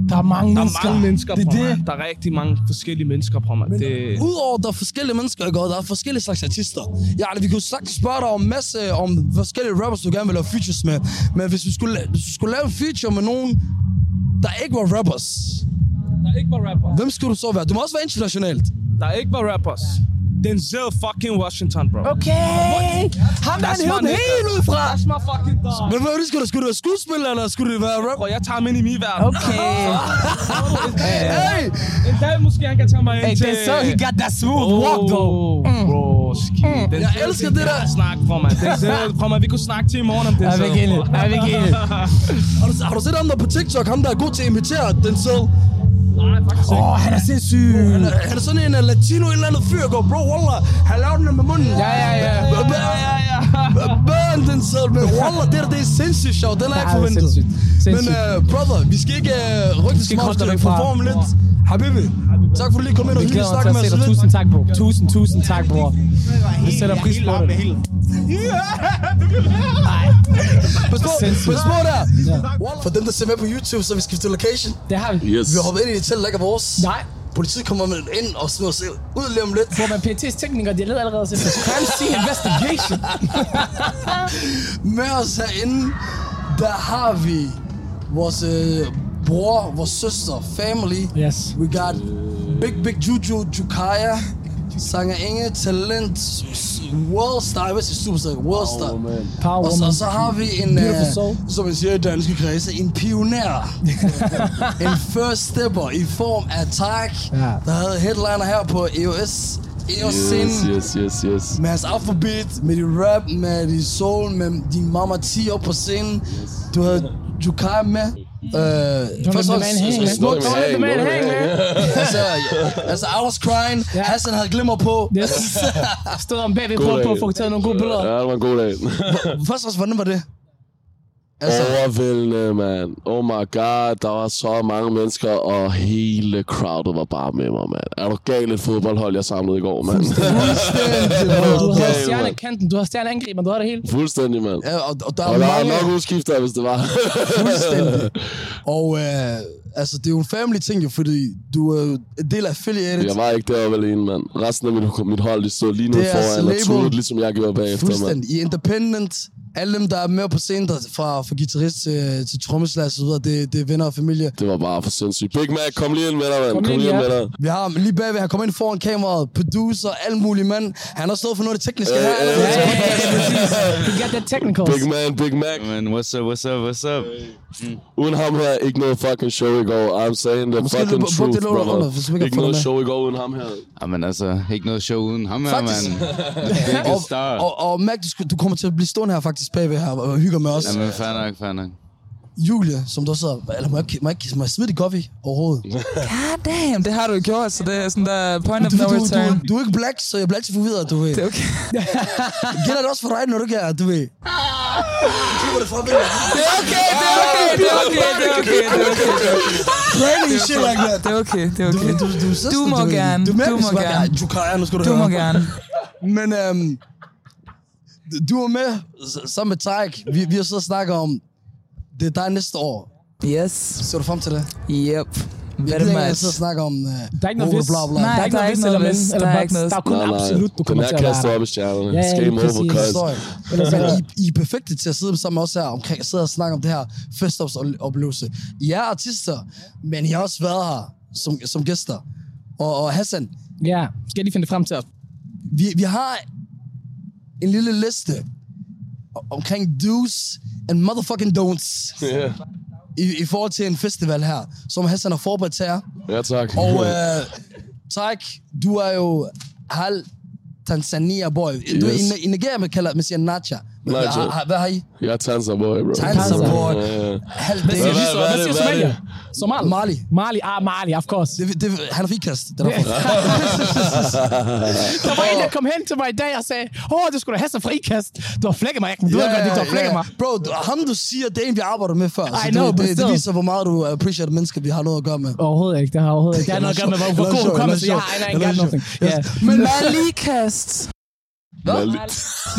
Speaker 1: Der er mange
Speaker 4: Der er Uh.
Speaker 1: mennesker.
Speaker 4: mange mennesker,
Speaker 2: Det er
Speaker 4: bror,
Speaker 2: det.
Speaker 4: mand. Der er rigtig mange forskellige mennesker, bror, mand. Det,
Speaker 2: Udover der er forskellige mennesker, ikke? og der er forskellige slags artister. Ja, vi kunne sagtens spørge dig om en masse om forskellige rappers, du gerne vil lave features med. Men hvis vi skulle, hvis vi skulle lave en feature med nogen, der ikke var rappers,
Speaker 4: der er ikke bare rapper.
Speaker 2: hvem skulle du så være? Du må også være internationalt.
Speaker 4: Der er ikke bare rappers. Denzel fucking Washington, bro.
Speaker 1: Okay! Ham der han
Speaker 4: Lad
Speaker 1: hævde
Speaker 4: os
Speaker 1: den
Speaker 4: bare næste.
Speaker 1: helt ud fra!
Speaker 2: Men hvad var det, skulle du, skulle du være skuespiller, eller skulle du være rapper?
Speaker 4: Bro, jeg tager ham ind i min verden.
Speaker 1: Okay.
Speaker 2: Hey!
Speaker 4: En dag måske han kan tage mig ind
Speaker 1: Hey, Oh.
Speaker 4: til...
Speaker 1: det er så, he got that smooth walk, though. Mm.
Speaker 4: Bro, ski. Den
Speaker 2: Jeg elsker det der.
Speaker 4: Snak, bro, man. Denzel, bro, man. Vi kunne snakke til i morgen om
Speaker 1: Er
Speaker 4: Denzel.
Speaker 1: vi ikke enige? Er vi ikke enige?
Speaker 2: Har du, har du set ham der på TikTok, ham der er god til at imitere den selv?
Speaker 4: Nej, faktisk
Speaker 1: Åh,
Speaker 4: ikke.
Speaker 1: oh, han er sindssyg.
Speaker 2: Han er, han er sådan en øh, latino, en eller anden fyr, går, bro, wallah, han laver den med munden.
Speaker 1: Ja, ja, ja.
Speaker 2: ja, ja, ja. Burn den selv, men wallah, det der, det er sindssygt sjovt. Den har jeg ikke
Speaker 1: Ja, det er
Speaker 2: forventet.
Speaker 1: sindssygt.
Speaker 2: Men
Speaker 1: Sindssygt.
Speaker 2: uh, brother, vi skal ikke uh, rykke det
Speaker 1: ikke
Speaker 2: smart,
Speaker 1: holde dig
Speaker 2: skal
Speaker 1: væk fra-
Speaker 2: performe lidt. Habibi, tak for at du lige kom ind og
Speaker 1: Vi
Speaker 2: hyggeligt
Speaker 1: glæder os
Speaker 2: snakke
Speaker 1: til
Speaker 2: med
Speaker 1: at se
Speaker 2: os
Speaker 1: dig.
Speaker 2: lidt.
Speaker 1: Tusind tak, bro. Tusind, tusind tak, bror. Vi sætter pris på det.
Speaker 2: Pas på,
Speaker 1: Sindssygt.
Speaker 2: pas på øh, der. Wallah, For dem, der ser med på YouTube, så vi skifter location.
Speaker 1: Det har vi.
Speaker 5: Yes.
Speaker 2: Vi hopper ind i et telt, der ikke er vores.
Speaker 1: Nej.
Speaker 2: Politiet kommer med ind og smider os ud lige om lidt.
Speaker 1: Hvor man PT's teknikere, de leder allerede til crime scene investigation.
Speaker 2: Med os herinde, der har vi vores øh, bror, vores søster, family.
Speaker 1: Yes.
Speaker 2: We got Big Big Juju Jukaya, Sanger Inge, Talent, s- World Star, jeg ved ikke, Superstar, World Star.
Speaker 1: Power
Speaker 2: Og
Speaker 1: woman.
Speaker 2: så, så har vi en,
Speaker 1: Beautiful soul.
Speaker 2: øh, som man siger i danske kredse, en pioner. en first stepper i form af Tak,
Speaker 1: Ja.
Speaker 2: der havde headliner her på E EOS. EOS
Speaker 5: Yes,
Speaker 2: scenen
Speaker 5: yes, yes, yes.
Speaker 2: med hans afrobeat, med dit rap, med dit soul, med din mamma 10 op på scenen. Du havde Jukai med. Øh, først og
Speaker 1: the man hang, man.
Speaker 2: smukt.
Speaker 1: Don't let the man hang, man.
Speaker 2: altså, altså, I was crying.
Speaker 1: Ja.
Speaker 2: Hassan havde glimmer på.
Speaker 1: Yes. Stod om bagved, prøvede på at få taget nogle gode billeder.
Speaker 5: Ja, det var en god dag.
Speaker 2: Først og hvordan var det? Altså,
Speaker 5: Overvældende, mand. Oh my god, der var så mange mennesker, og hele crowdet var bare med mig, mand. Er du gal et fodboldhold, jeg samlede i går, mand?
Speaker 1: Du
Speaker 2: fuldstændig.
Speaker 1: har
Speaker 5: Okay,
Speaker 1: stjernekanten, du har stjerneangriber, du har det hele.
Speaker 5: Fuldstændig, mand.
Speaker 2: Ja, og, og der
Speaker 5: Og
Speaker 2: er
Speaker 5: der var
Speaker 2: mange...
Speaker 5: nok udskifter, hvis det var.
Speaker 2: Fuldstændig. Og øh, altså, det er jo en family ting, jo, fordi du er jo en del af affiliated.
Speaker 5: Jeg var ikke deroppe alene, mand. Resten af mit, mit hold, de stod lige nu
Speaker 2: Det er altså
Speaker 5: foran og
Speaker 2: label.
Speaker 5: tudede, ligesom jeg gjorde bagefter, mand.
Speaker 2: Fuldstændig. I Independent, alle dem, der er med på scenen, der, fra, fra guitarist til, til trommeslager og så videre, det, det er venner og familie.
Speaker 5: Det var bare for sindssygt. Big Mac, kom lige ind med dig, mand.
Speaker 1: Kom
Speaker 5: Kom,
Speaker 1: lige
Speaker 5: lige ind
Speaker 1: ind,
Speaker 5: med dig.
Speaker 2: Vi har ham lige bagved, han kommer ind foran kameraet, producer, alle mulige mand. Han har stået for noget af det tekniske
Speaker 5: Øh,
Speaker 2: her.
Speaker 1: Ja,
Speaker 5: øh,
Speaker 1: ja,
Speaker 2: allerede.
Speaker 1: ja, ja, præcis. You got that technicals.
Speaker 5: Big Man, Big Mac.
Speaker 6: Man, what's up, what's up, what's up?
Speaker 5: Uden ham her, ikke noget fucking show i går. I'm saying the
Speaker 2: Måske
Speaker 5: fucking
Speaker 2: bu- bu-
Speaker 5: truth,
Speaker 2: det lå der under, hvis vi ikke
Speaker 5: brother.
Speaker 2: har
Speaker 5: Ikke
Speaker 2: fået
Speaker 5: noget
Speaker 2: med.
Speaker 5: show i går uden ham her.
Speaker 6: Jamen altså, ikke noget show uden ham her,
Speaker 2: Faktisk.
Speaker 6: mand. Big
Speaker 2: Og,
Speaker 6: star.
Speaker 2: og, og Mac, du, skulle- du kommer til at blive stående her faktisk bagved her og hygger med os.
Speaker 6: Jamen, fair nok, fair nok.
Speaker 2: Julie, som du sidder... Eller må jeg, ikke- må jeg, ikke- må jeg smide dit coffee overhovedet?
Speaker 7: God damn, det har du jo gjort, så det er sådan der point of
Speaker 2: Du,
Speaker 7: no
Speaker 2: du, du,
Speaker 7: return.
Speaker 2: du er ikke black, så jeg bliver altid forvirret, du ved.
Speaker 7: Det er okay.
Speaker 2: Gælder det også for dig, når du ikke er, du ved. Klipper det fra billedet.
Speaker 7: Det er okay, det er okay, det er okay, det er okay, det er okay.
Speaker 2: Training shit like that.
Speaker 7: Det er okay, det er
Speaker 2: Du,
Speaker 7: okay.
Speaker 2: du, du, er søster,
Speaker 7: Du må
Speaker 2: ved.
Speaker 7: gerne,
Speaker 2: Du,
Speaker 7: du må gerne.
Speaker 2: Du kan, nu skal du,
Speaker 7: Du
Speaker 2: høre.
Speaker 7: må gerne.
Speaker 2: Men øhm, du er med s- sammen med Tarik. Vi, vi har så snakket om, det er dig næste år.
Speaker 7: Yes.
Speaker 2: Ser du frem til det?
Speaker 7: Yep.
Speaker 2: Jeg
Speaker 7: Very
Speaker 2: gider
Speaker 7: much.
Speaker 2: ikke sidde og snakke om... Uh,
Speaker 1: Der er ikke noget vist.
Speaker 2: Bla, bla.
Speaker 1: Der er ikke noget vist eller men, eller box. Der er kun
Speaker 5: Nej, nej.
Speaker 1: absolut, du kommer
Speaker 5: Den
Speaker 1: til at
Speaker 5: er
Speaker 1: være
Speaker 5: kastet
Speaker 1: der.
Speaker 5: op i stjernerne.
Speaker 1: Ja, ja,
Speaker 5: Game
Speaker 1: lige
Speaker 5: over,
Speaker 1: præcis.
Speaker 5: cuz.
Speaker 2: Sorry. Men I, I er perfekte til at sidde sammen med os her omkring, sidde og snakke om det her festopsoplevelse. I er artister, men I har også været her som, som gæster. Og, og Hassan,
Speaker 1: Ja, skal jeg lige finde det frem til os.
Speaker 2: vi, vi har en lille liste o- omkring do's and motherfucking don'ts
Speaker 5: Ja.
Speaker 2: i, i forhold til en festival her,
Speaker 1: øh,
Speaker 2: som Hassan har forberedt til jer.
Speaker 5: Ja, tak.
Speaker 2: Og øh, tak, du er jo hal Tanzania boy. Du ved,
Speaker 5: Yes.
Speaker 2: i, i Nigeria, man kalder, man siger Nacha. Hvad,
Speaker 5: Nacha.
Speaker 2: har- har- hvad har I?
Speaker 5: Jeg er Tanza Boy, bro.
Speaker 2: Tanza boy.
Speaker 5: Ja, ja.
Speaker 2: Halv
Speaker 1: Hvad siger,
Speaker 5: Hvad-
Speaker 1: hvad, hvad,
Speaker 5: hvad- hvad er
Speaker 1: siger
Speaker 5: det- hvad er
Speaker 1: Somalia?
Speaker 5: det?
Speaker 1: Somal.
Speaker 2: Mali.
Speaker 1: Mali, ah, Mali, of course.
Speaker 2: Det, det, han er frikast. Den er fra.
Speaker 1: Der var en, der kom hen til mig i dag og sagde, åh, du skulle da have så frikast. Du har flækket mig, Ahmed. Du ved godt, det, du har flækket mig.
Speaker 2: Bro, du, ham du siger, det er en, vi arbejder med før.
Speaker 1: I
Speaker 2: Så
Speaker 1: know,
Speaker 2: det,
Speaker 1: but
Speaker 2: det, det
Speaker 1: still.
Speaker 2: viser, hvor meget du appreciater mennesker, vi har noget at gøre med.
Speaker 1: Overhovedet ikke, det har overhovedet ikke. Det har noget at gøre med, hvor hvor god hukommelse jeg har. I ain't got nothing. Yeah.
Speaker 7: Men Malikast.
Speaker 5: Malik.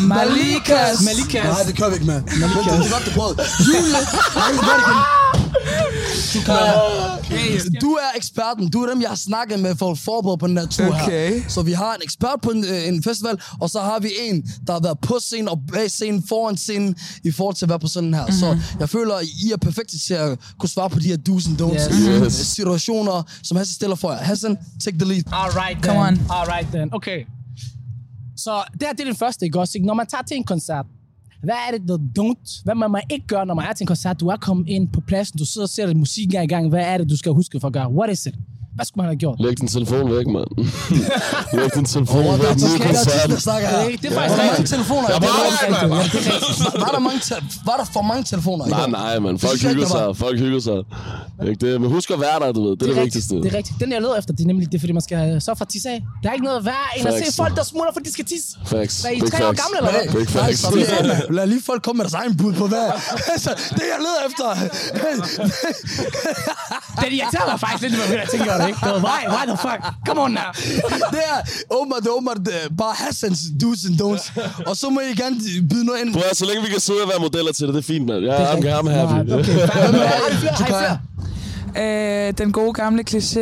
Speaker 7: Malikas.
Speaker 1: Malikas.
Speaker 2: Nej, det kører vi ikke med. Men det er godt, du prøvede. Julie, nej, det gør det ikke. Du, kan, du er eksperten. Du er dem, jeg har snakket med for at forberede på den her tur
Speaker 7: Okay.
Speaker 2: her. Så vi har en ekspert på en, øh, en festival, og så har vi en, der har været på scenen og bag scenen, foran scenen, i forhold til at være på sådan her. Så jeg føler, at I er perfekte til at kunne svare på de her do's and don'ts.
Speaker 5: Yes.
Speaker 2: Øh, Situationer, som Hassan stiller for jer. Hassan, take the lead.
Speaker 1: All right, then.
Speaker 7: Come on.
Speaker 1: All right, then. Okay. Så det her det er den første, ikke også? ikke? Når man tager til en koncert, hvad er det, der don't? Hvad man må ikke gøre, når man er til en koncert? Du er kommet ind på pladsen, du sidder og ser, at musikken er i gang. Hvad er det, du skal huske for at gøre? What is it? Hvad skulle man have gjort?
Speaker 5: Læg din telefon væk, mand. Læg din telefon
Speaker 2: Og der
Speaker 5: væk.
Speaker 2: er
Speaker 5: Nu
Speaker 2: tysk, der er tysk,
Speaker 5: koncert.
Speaker 2: der snakker her.
Speaker 1: Det er faktisk
Speaker 2: Hvor mange
Speaker 1: rigtigt.
Speaker 2: telefoner? er
Speaker 5: Jeg
Speaker 2: der?
Speaker 5: bare
Speaker 2: Var- Var der, mange te- var der for mange telefoner i
Speaker 5: Nej,
Speaker 2: går?
Speaker 5: nej, man. Folk
Speaker 2: synes jeg
Speaker 5: hygger
Speaker 2: ikke, der
Speaker 5: sig. Folk hygger sig. Ikke det? Men husk at være der, du ved. Det er det, vigtigste.
Speaker 1: Rigtigt, det er rigtigt. Den, jeg leder efter, det er nemlig det, er, fordi man skal så for at tisse af. Der er ikke noget værre, end at
Speaker 5: Facts.
Speaker 1: se folk, der smutter, fordi de skal tisse.
Speaker 5: Facts.
Speaker 1: Hvad, I
Speaker 5: Big
Speaker 1: tre år
Speaker 5: facts.
Speaker 1: gamle, eller hvad?
Speaker 5: Big facts.
Speaker 2: Nej, slap lige af, mand. Lad lige folk komme med deres egen bud på hvad. altså, det jeg leder efter.
Speaker 1: Den irriterer mig faktisk lidt, når jeg tænker over det, ikke? Det var, Why? Why the fuck? Come on now.
Speaker 2: det er åbenbart, det er åbenbart øh, bare Hassans do's and don'ts. Og så må I gerne byde noget ind.
Speaker 5: Prøv at, så længe vi kan sidde og være modeller til det, det er fint, mand. Jeg er I'm, I'm happy.
Speaker 1: Alright, Okay, fair. Har I flere? Har I flere?
Speaker 7: Øh, den gode gamle kliché.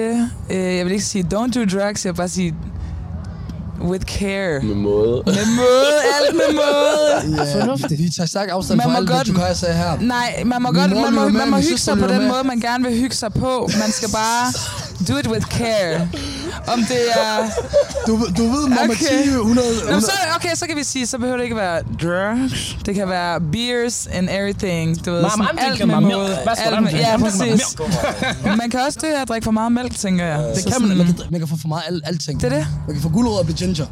Speaker 7: Øh, jeg vil ikke sige, don't do drugs. Jeg vil bare sige, with care.
Speaker 5: Med måde.
Speaker 7: Med måde, alt med måde.
Speaker 2: Fornuftigt. Vi tager stærk afstand
Speaker 7: Man
Speaker 2: fra
Speaker 7: må
Speaker 2: alt det,
Speaker 7: godt-
Speaker 2: du kan sagde her.
Speaker 7: Nej, man må
Speaker 2: Min
Speaker 7: godt,
Speaker 2: mor
Speaker 7: man
Speaker 2: lytter
Speaker 7: må, man
Speaker 2: med,
Speaker 7: må
Speaker 2: min
Speaker 7: hygge
Speaker 2: søster
Speaker 7: sig på
Speaker 2: lytter
Speaker 7: den
Speaker 2: med.
Speaker 7: måde, man gerne vil hygge sig på. Man skal bare do it with care. Om det er...
Speaker 2: Du, du ved, mamma
Speaker 7: Okay.
Speaker 2: 10, 100...
Speaker 7: Nå, så, okay, så kan vi sige, så behøver det ikke være drugs. Det kan være beers and everything. Du ved,
Speaker 1: Mama, I'm
Speaker 7: sådan alt
Speaker 1: drinking
Speaker 7: med
Speaker 1: my milk.
Speaker 7: måde.
Speaker 1: Hvad skal
Speaker 7: alt
Speaker 1: der
Speaker 7: med-
Speaker 1: med-
Speaker 7: Ja,
Speaker 1: I'm drinking my
Speaker 7: præcis. Man kan også dø af at drikke for meget mælk, tænker jeg.
Speaker 2: Det kan man, man kan, man kan få for meget alt, alting.
Speaker 7: Det er det.
Speaker 2: Man kan få gulerødder og blive ginger.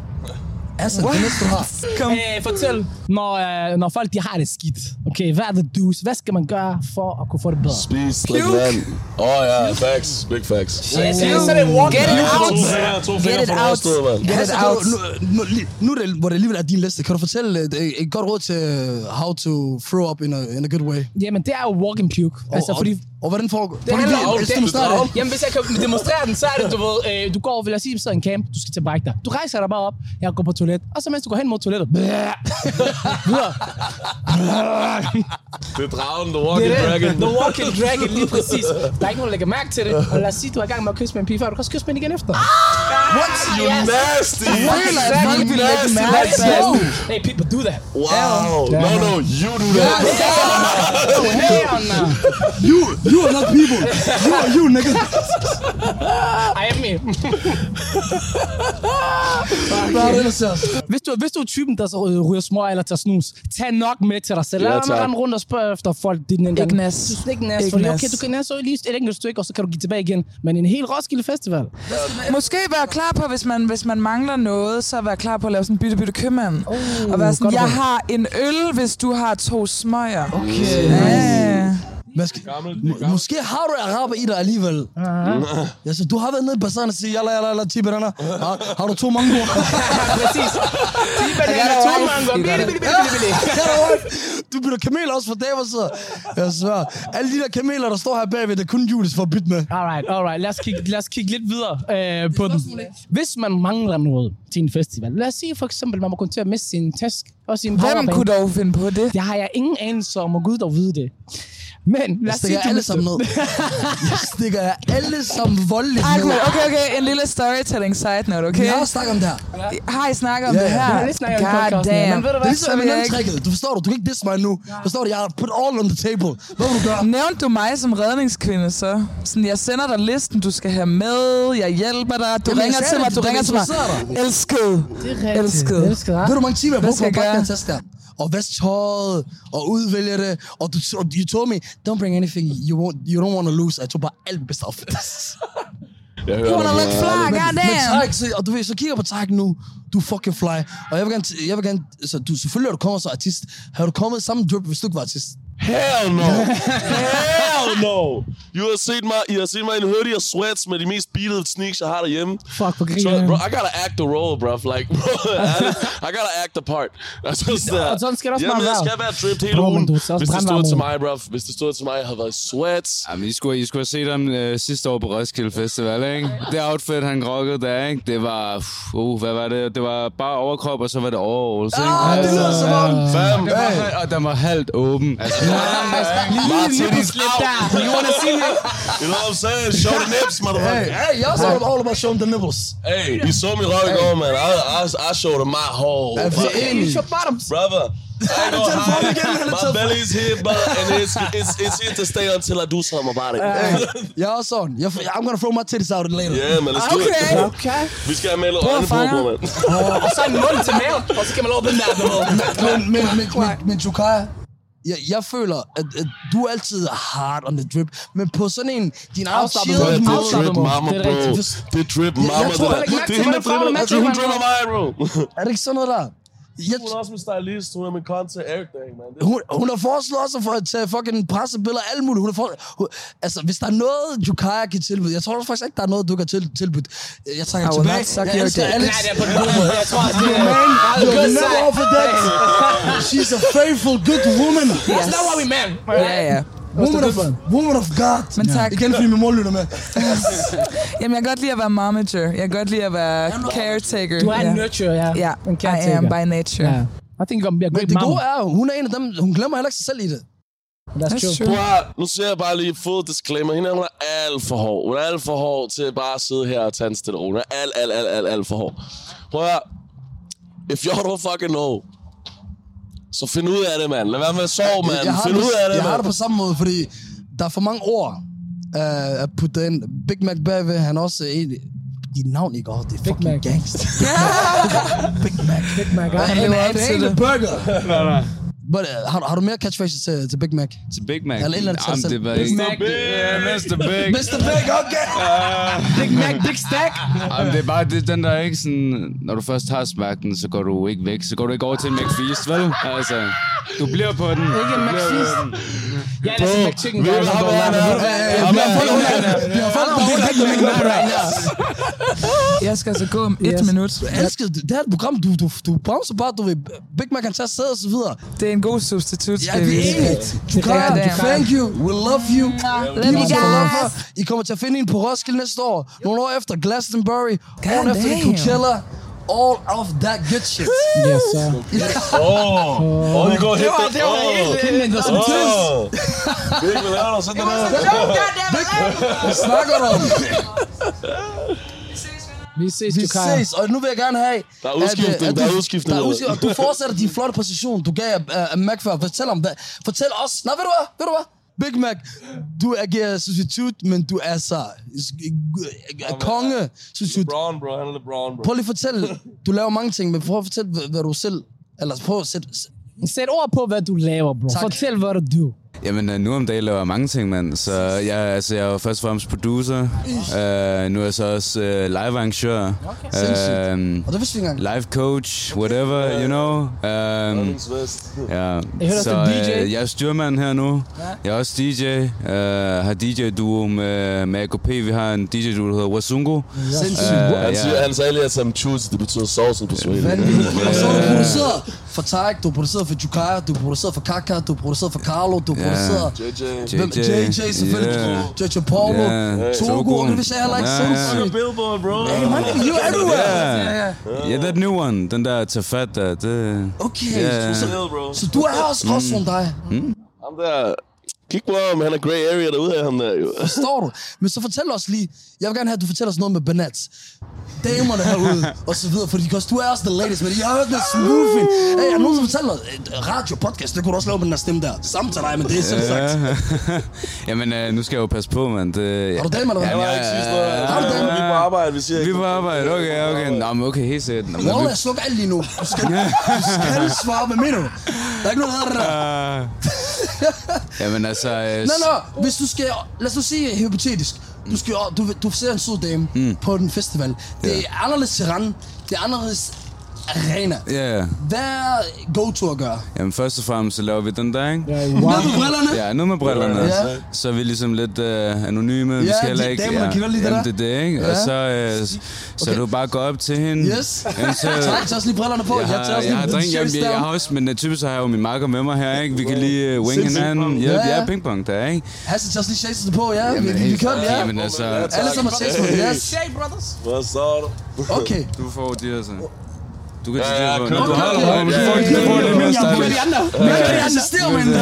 Speaker 2: Hassan, det næste du har.
Speaker 7: Kom.
Speaker 1: Øh, fortæl, når, øh, når folk de har det skidt, okay, hvad er the do's? Hvad skal man gøre for at kunne få det bedre?
Speaker 5: Spis, drik vand. Åh oh, ja, facts. Big facts.
Speaker 7: Get it out.
Speaker 5: To fingre
Speaker 7: it
Speaker 5: for
Speaker 7: out.
Speaker 5: overstået, mand.
Speaker 7: Get it
Speaker 2: Hassan,
Speaker 7: out.
Speaker 2: nu, nu, nu- nu er det, hvor det alligevel er din liste. Kan du fortælle et, et godt råd til øh, how to throw up in a, in a good way?
Speaker 1: Jamen, det er jo walk and puke. Altså,
Speaker 2: og,
Speaker 1: fordi...
Speaker 2: og, og hvordan foregår det?
Speaker 1: Det handler om...
Speaker 2: Hvis du må starte.
Speaker 1: det, jamen, hvis jeg kan demonstrere den, så er det, du ved, øh, du går, vil jeg sige, vi sidder i en camp, du skal til brække dig. Du rejser dig bare op, jeg går på toilet, og så mens du går hen mod toilettet, videre.
Speaker 5: Det er dragen, The
Speaker 1: Det
Speaker 5: Walking
Speaker 1: er
Speaker 5: Dragon.
Speaker 1: det. The Walking Dragon, lige præcis. Der er ikke nogen, der lægger mærke til det. Og lad os sige, du er i gang med at kysse med en pige før. Du kan også kysse med hende igen efter.
Speaker 5: What? You nasty.
Speaker 1: Føler, at folk
Speaker 5: You
Speaker 1: vil
Speaker 5: nasty.
Speaker 1: mærke til
Speaker 5: bastard.
Speaker 1: det. Hey, people do that.
Speaker 5: Wow. No, no, you do that.
Speaker 1: Hey, on now.
Speaker 2: You, you are not people. You are you, nigga.
Speaker 1: I am me.
Speaker 2: Hvad er det ellers her?
Speaker 1: Hvis du, hvis du er typen, der så øh, ryger små eller tager snus, tag nok med til dig selv. Lad
Speaker 5: Ja,
Speaker 1: ja,
Speaker 5: tak.
Speaker 1: rende rundt og spørge efter folk. Det er
Speaker 7: Ikke nas.
Speaker 1: Ikke næs.
Speaker 7: Ikke
Speaker 1: Fordi,
Speaker 7: nas.
Speaker 1: okay, du kan næs så lige et enkelt stykke, og så kan du give tilbage igen. Men en helt Roskilde Festival.
Speaker 7: Måske være klar på, hvis man, hvis man mangler noget, så være klar på at lave sådan en bytte, bytte købmand. Oh, og være sådan,
Speaker 1: godt
Speaker 7: jeg
Speaker 1: råd.
Speaker 7: har en øl, hvis du har to smøger. Okay. Ja.
Speaker 2: Måske, må- måske har du araber i dig alligevel.
Speaker 1: Uh-huh.
Speaker 2: Ja, så du har været nede i bazaaren og sige, jalla, jalla, jalla, ti bananer. Har, har du to mangoer?
Speaker 1: Præcis. De bananer, to mango. Bili, bili, bili, bili, bili.
Speaker 2: Ja, der var- du bytter kameler også for Davids side. Jeg svær. Alle de der kameler, der står her bagved, det er kun Julius for at bytte med.
Speaker 1: Alright, alright. Lad os kigge, lad os kigge lidt videre øh, på den. Hvis man mangler noget til en festival, lad os sige for eksempel, man må komme til at miste sin task og sin
Speaker 7: Hvem
Speaker 1: powerbank.
Speaker 7: kunne dog finde på det?
Speaker 1: Det har jeg ingen anelse om, og Gud dog vide det. Men lad
Speaker 2: Jeg
Speaker 1: os sige,
Speaker 2: stikker jer alle
Speaker 1: mister-
Speaker 2: sammen ned. Jeg stikker jer alle sammen voldeligt
Speaker 7: Ej,
Speaker 2: ned.
Speaker 7: cool. Okay, okay. En lille storytelling side note, okay?
Speaker 2: Vi har også snakket om det her.
Speaker 7: Har I snakket om
Speaker 2: Ja,
Speaker 7: det
Speaker 2: ja.
Speaker 7: her?
Speaker 1: Vi har lige snakket om
Speaker 7: God
Speaker 1: podcasten,
Speaker 7: damn.
Speaker 1: men ved du
Speaker 2: Det
Speaker 1: hvad,
Speaker 2: er ligesom
Speaker 7: Så vil jeg ikke-
Speaker 2: M&M-tricket. Du forstår du? Du kan ikke disse mig nu. Forstår du? Jeg har put all on the table. Hvad vil du gøre?
Speaker 7: Nævnte du mig som redningskvinde, så? Sådan, jeg sender dig listen, du skal have med, jeg hjælper
Speaker 2: Jamen,
Speaker 7: dig, du
Speaker 2: jeg
Speaker 7: Jamen, ringer
Speaker 2: sagde
Speaker 7: til
Speaker 2: det,
Speaker 7: mig, du
Speaker 2: det
Speaker 7: ringer til mig.
Speaker 2: interesserer
Speaker 7: Elsket.
Speaker 1: Det er rigtigt.
Speaker 7: Elsket.
Speaker 1: Elsket, hva'?
Speaker 2: Ved du, hvor mange timer jeg
Speaker 7: Hvad
Speaker 2: brugte på
Speaker 7: skal
Speaker 2: at
Speaker 7: jeg
Speaker 2: pakke
Speaker 7: gøre?
Speaker 2: den taske der? Og vaske tøjet, og udvælge det. Og du, og you told me, don't bring anything you, won't, you don't want to lose. Jeg tog bare alt bestemt.
Speaker 5: Jeg hører
Speaker 7: You wanna
Speaker 5: dig,
Speaker 7: look
Speaker 5: bror.
Speaker 7: fly,
Speaker 2: Men
Speaker 7: goddamn!
Speaker 2: tak, så, og du ved, så kigger jeg på tak nu. Du er fucking fly. Og jeg vil gerne, jeg vil gerne så du, selvfølgelig er du kommet som artist. Har du kommet samme drip, hvis du ikke var artist?
Speaker 5: Hell no! Hell no! You har set mig, I har set mig i en hoodie og sweats med de mest beatede sneaks, jeg har derhjemme.
Speaker 1: Fuck, hvor
Speaker 5: So,
Speaker 1: griner.
Speaker 5: bro, I gotta act the role, bro. Like, bro, I gotta act the part. Altså, sådan
Speaker 1: og sådan skal det også
Speaker 5: Jamen,
Speaker 1: bare være.
Speaker 5: jeg skal være dripped hele
Speaker 1: Bro, men
Speaker 5: ugen.
Speaker 1: du er så også
Speaker 5: Hvis det stod
Speaker 1: brandvarm,
Speaker 5: til
Speaker 1: mor.
Speaker 5: mig, bro. Hvis det stod til mig, jeg havde været i sweats.
Speaker 6: Jamen, I skulle, I skulle have set ham øh, sidste år på Roskilde Festival, ikke? Det outfit, han rockede der, ikke? Det var... pff, Uh, hvad var det? Det var bare overkrop, og så var det overalls, ikke?
Speaker 2: Ah, det lyder som om...
Speaker 5: Fam,
Speaker 6: Den var, hal- og den var halvt åben. Altså,
Speaker 1: You wanna see me?
Speaker 5: you know what I'm saying? Show the nips, motherfucker.
Speaker 2: Hey, jeg også all, all about showing the nipples.
Speaker 5: Hey, I så mit røv i går, man. I, I, I showed them my whole
Speaker 2: Altså,
Speaker 5: fucking
Speaker 2: enig.
Speaker 5: Brother, I know how my belly's here, brother, and it's, it's, it's here to stay until I do something about it.
Speaker 2: Jeg er også sådan. Jeg, I'm gonna throw my titties out later.
Speaker 5: yeah, man, let's do
Speaker 7: Okay.
Speaker 5: it.
Speaker 1: Okay.
Speaker 5: Vi skal have malet øjne på,
Speaker 7: fanger.
Speaker 5: bror, man.
Speaker 1: Og så en mund til maven, og så kan man åbne den der. du ved.
Speaker 2: Men, men, men, men, men Jukaya, jeg, jeg føler, at, at du altid er hard on the drip, men på sådan en, din
Speaker 1: Afslappet
Speaker 2: outchilled
Speaker 1: måde.
Speaker 5: Det er
Speaker 1: Afslappet
Speaker 5: drip
Speaker 1: måde.
Speaker 5: mama,
Speaker 1: Det er
Speaker 5: bro.
Speaker 1: rigtigt.
Speaker 5: Det er drip
Speaker 2: jeg tror
Speaker 5: mama, det der.
Speaker 2: heller ikke
Speaker 1: mærke
Speaker 5: Det
Speaker 1: til,
Speaker 5: er hende, der
Speaker 1: hvordan farven
Speaker 5: driller.
Speaker 1: matcher
Speaker 5: Hun
Speaker 1: hinanden.
Speaker 5: driller mig, bro.
Speaker 2: Er det ikke sådan noget der? Jeg,
Speaker 5: Hun er også min stylist. Hun er min content, everything, man. Det
Speaker 2: hun, hun har foreslået også for at tage fucking pressebilleder og alt muligt. Hun har for, hun, altså, hvis der er noget, Jukaya kan tilbyde, jeg tror faktisk ikke, der er noget, du kan til, tilbyde. Jeg trækker
Speaker 7: I will
Speaker 2: tilbage.
Speaker 7: not suck
Speaker 2: jeg
Speaker 7: your
Speaker 2: elsker
Speaker 7: dick.
Speaker 2: Alex.
Speaker 1: Nej, det er på den måde. Jeg tror også, det er...
Speaker 2: You're
Speaker 1: Good
Speaker 2: never
Speaker 1: side.
Speaker 2: off of that. She's a faithful, good woman.
Speaker 1: That's not what we meant.
Speaker 7: Ja, ja.
Speaker 2: Woman of, woman of God.
Speaker 7: Men tak.
Speaker 2: Igen, fordi min mor lytter med.
Speaker 7: Jamen, jeg kan godt lide at være momager. Jeg kan godt lide at være caretaker.
Speaker 1: Du er en
Speaker 7: Ja.
Speaker 1: nurturer, ja.
Speaker 7: Ja,
Speaker 1: En
Speaker 7: I
Speaker 1: caretaker.
Speaker 7: am by nature.
Speaker 1: Ja. I think you're gonna be a
Speaker 2: Men
Speaker 1: great
Speaker 2: det
Speaker 1: mom.
Speaker 2: gode er jo, hun er en af dem, hun glemmer heller ikke sig selv i det.
Speaker 1: That's
Speaker 7: That's
Speaker 1: true.
Speaker 7: true.
Speaker 5: Prøv at- nu ser jeg bare lige full disclaimer. Hende her, hun er alt for hård. Hun er alt for hård til bare at sidde her og tage en stille ro. Hun er alt, alt, alt, alt, alt for hård. Prøv at høre. If y'all don't fucking know, så find ud af det, mand. Lad være med at sove, mand.
Speaker 2: jeg har,
Speaker 5: Find
Speaker 2: det,
Speaker 5: ud af det,
Speaker 2: jeg har det
Speaker 5: mand.
Speaker 2: på samme måde, fordi der er for mange ord uh, at putte ind. Big Mac bagved, han er også en... Dit navn, ikke? Åh, det er fucking
Speaker 1: Mac.
Speaker 2: gangster.
Speaker 1: Big Mac, ja.
Speaker 2: Han
Speaker 7: lever op
Speaker 2: det
Speaker 7: til
Speaker 2: ikke
Speaker 7: det.
Speaker 2: en burger. But, uh, har, du- har du mere catchphrases til, til Big Mac?
Speaker 6: til Big Mac.
Speaker 2: Eller et eller andet til
Speaker 6: Jamen,
Speaker 2: selv.
Speaker 6: det var ikke...
Speaker 7: Mac.
Speaker 6: Yeah, Mr. Big.
Speaker 2: Mr. Big, okay!
Speaker 1: Big Mac, Big Stack.
Speaker 6: Jamen, det er bare det, er den der ikke sådan... Når du først har smagt den, så går du ikke væk. Så går du ikke over til en McFeast, vel? Altså, du bliver på den. Ikke en McFeast.
Speaker 1: Ja, det er McChicken.
Speaker 5: Ved du, ham er-
Speaker 2: Vi har fået under Vi har fået under Big Mac right her.
Speaker 7: Jeg skal altså gå om et
Speaker 1: Yes.
Speaker 7: minut.
Speaker 2: Jeg elsker det. Det her program, du, du, du bouncer bare, du ved, Big Mac kan tage sæde og så videre.
Speaker 7: Det er en god substitut,
Speaker 2: Øh, Ja,
Speaker 7: skal jeg
Speaker 2: vi er
Speaker 7: vide.
Speaker 2: enige. Du kan,
Speaker 7: rigtigt,
Speaker 2: du
Speaker 7: det er
Speaker 2: thank you, we love you.
Speaker 7: Love you guys.
Speaker 2: I kommer til at finde en på Roskilde næste år. Nogle år efter Glastonbury. Året efter det er
Speaker 7: damn.
Speaker 2: Coachella. All of that good shit.
Speaker 1: Yes, sir.
Speaker 5: Åh, oh, de går helt op.
Speaker 1: Kinden, der sådan
Speaker 5: Åh, åh. Big Mac, laver du sådan det der?
Speaker 2: Hvad snakker du om?
Speaker 1: Vi ses,
Speaker 2: Vi
Speaker 1: Jukaya.
Speaker 2: ses, og nu vil jeg gerne have...
Speaker 5: Der er udskiftning,
Speaker 2: at, øh, at
Speaker 5: der er
Speaker 2: du-
Speaker 5: udskiftning.
Speaker 2: Der er udskiftning, og du fortsætter din flotte position, du gav uh, Mac før. Fortæl om hvad. Fortæl os... Nej, ved du hvad? Ved du hvad? Big Mac, du agerer substitut, men du er så konge substitut.
Speaker 5: LeBron, bro. Han er LeBron, bro.
Speaker 2: Prøv lige at fortælle, du laver mange ting, men prøv at fortælle, hvad, hvad du selv, eller prøv at sætte,
Speaker 1: Sæt ord på, hvad du laver, bro.
Speaker 2: Tak.
Speaker 1: Fortæl, hvad du do.
Speaker 6: Jamen, øh, nu om dagen laver jeg mange ting, mand. Så jeg, altså, jeg er jo først og fremmest producer. Uh, nu er jeg så også uh, live-arrangør. Okay.
Speaker 2: og det vidste vi ikke engang.
Speaker 6: Øh, live coach, whatever, you know. Um, ja.
Speaker 1: hører også, det er DJ.
Speaker 6: øh, jeg er styrmand her nu. Jeg er også DJ. Uh, har DJ-duo med, med AKP. Vi har en DJ-duo, der hedder Wasungo.
Speaker 2: Sindssygt.
Speaker 6: Øh,
Speaker 5: Han,
Speaker 6: ja.
Speaker 5: siger, han sagde lige, at Sam Chutes, det betyder sovsen på swahili.
Speaker 2: Og så er du produceret for Tarek, du er produceret for Jukaya, du er produceret for Kaka, du er produceret for Carlo, du er
Speaker 6: Ja.
Speaker 2: produceret...
Speaker 5: JJ.
Speaker 2: Hvem?
Speaker 6: JJ,
Speaker 2: JJ selvfølgelig,
Speaker 6: yeah.
Speaker 2: JJ Paulo,
Speaker 6: Yeah.
Speaker 2: Togo,
Speaker 6: Togo.
Speaker 2: og det vidste jeg heller ikke.
Speaker 6: Ja, ja.
Speaker 2: Sindssygt.
Speaker 5: Billboard, bro.
Speaker 2: Hey, man, you everywhere.
Speaker 6: Ja, yeah, that new one, den der tager fat der, det...
Speaker 2: Okay,
Speaker 6: Ja. Mm.
Speaker 2: så,
Speaker 5: bro.
Speaker 2: så du er her også også om dig,
Speaker 5: Ham der... Kig på ham, han er grey area derude af ham der, jo.
Speaker 2: forstår du? Men så fortæl os lige, jeg vil gerne have, at du fortæller os noget med Banat. Damerne herude, og så videre, fordi because du er også the latest, men jeg har hørt noget smoothing. Hey, er der nogen, som fortæller os? Eh, Radio, podcast, det kunne du også lave med den der stemme der. Samme til dig, men det er selv sagt.
Speaker 6: Ja. Jamen, øh, nu skal jeg jo passe på, mand. Det,
Speaker 2: Har du damer, eller hvad?
Speaker 5: Han var ikke sidst, noget.
Speaker 2: Ham der.
Speaker 5: Vi er på arbejde, vi siger
Speaker 6: Vi
Speaker 5: ikke.
Speaker 6: er på arbejde, okay, okay. Nå, men okay, helt sikkert. Nå, men
Speaker 2: Wallah,
Speaker 6: vi-
Speaker 2: jeg slukker alt lige nu. Du skal, du skal svare, hvad mener du? Der er ikke noget, der hedder det der.
Speaker 6: Ah. Jamen altså... øh,
Speaker 2: Nå, nå, hvis du skal, lad os nu sige hypotetisk. Du, skal, jo- du, du ser en sød dame mm. på den festival. Det er anderledes terræn. Det er anderledes arena.
Speaker 6: Ja, ja.
Speaker 2: Hvad er go-to at gøre?
Speaker 6: Jamen først og fremmest så laver vi den der, ikke?
Speaker 2: Ned med brillerne.
Speaker 6: Ja, nu med brillerne.
Speaker 2: Ja.
Speaker 6: Ja. Så er vi ligesom lidt øh, anonyme. vi
Speaker 2: Ja,
Speaker 6: skal
Speaker 2: de
Speaker 6: heller ikke...
Speaker 2: damer, der kigger lige det
Speaker 6: Jamen,
Speaker 2: der.
Speaker 6: det er det, ikke? Ja. Og
Speaker 2: Ja.
Speaker 6: så, øh, så, så
Speaker 2: Okay.
Speaker 6: du bare går op til hende.
Speaker 2: Yes.
Speaker 6: Jamen, så,
Speaker 2: Tak, tag også lige brillerne på.
Speaker 6: jeg
Speaker 2: Jeg tager
Speaker 6: har,
Speaker 2: også lige
Speaker 6: jeg har drink, jeg,
Speaker 2: shirts
Speaker 6: jeg, jeg har
Speaker 2: down.
Speaker 6: også, men øh, typisk så har jeg jo min marker med mig her, ikke? Vi kan lige uh, wing hinanden. Ja,
Speaker 2: Ja,
Speaker 6: ja,
Speaker 2: ja.
Speaker 6: ping pong der, ikke?
Speaker 2: Hasse, tag også lige shirtsene på, ja. Vi, vi, vi kom, ja.
Speaker 6: Jamen altså,
Speaker 2: Alle sammen har shirts på, yes.
Speaker 5: Hvad så er du?
Speaker 2: Okay.
Speaker 6: du får de her, så. Du kan
Speaker 5: Ja,
Speaker 6: tage de
Speaker 5: ja,
Speaker 6: her på.
Speaker 5: kom,
Speaker 6: Du
Speaker 5: kom,
Speaker 6: holder
Speaker 5: kom.
Speaker 6: på dem, så
Speaker 5: Ja,
Speaker 6: får de-
Speaker 5: ja,
Speaker 6: så får de
Speaker 5: ja,
Speaker 6: lidt mere
Speaker 1: Jeg er
Speaker 6: style.
Speaker 1: med de andre.
Speaker 2: Jeg kan assistere med hende.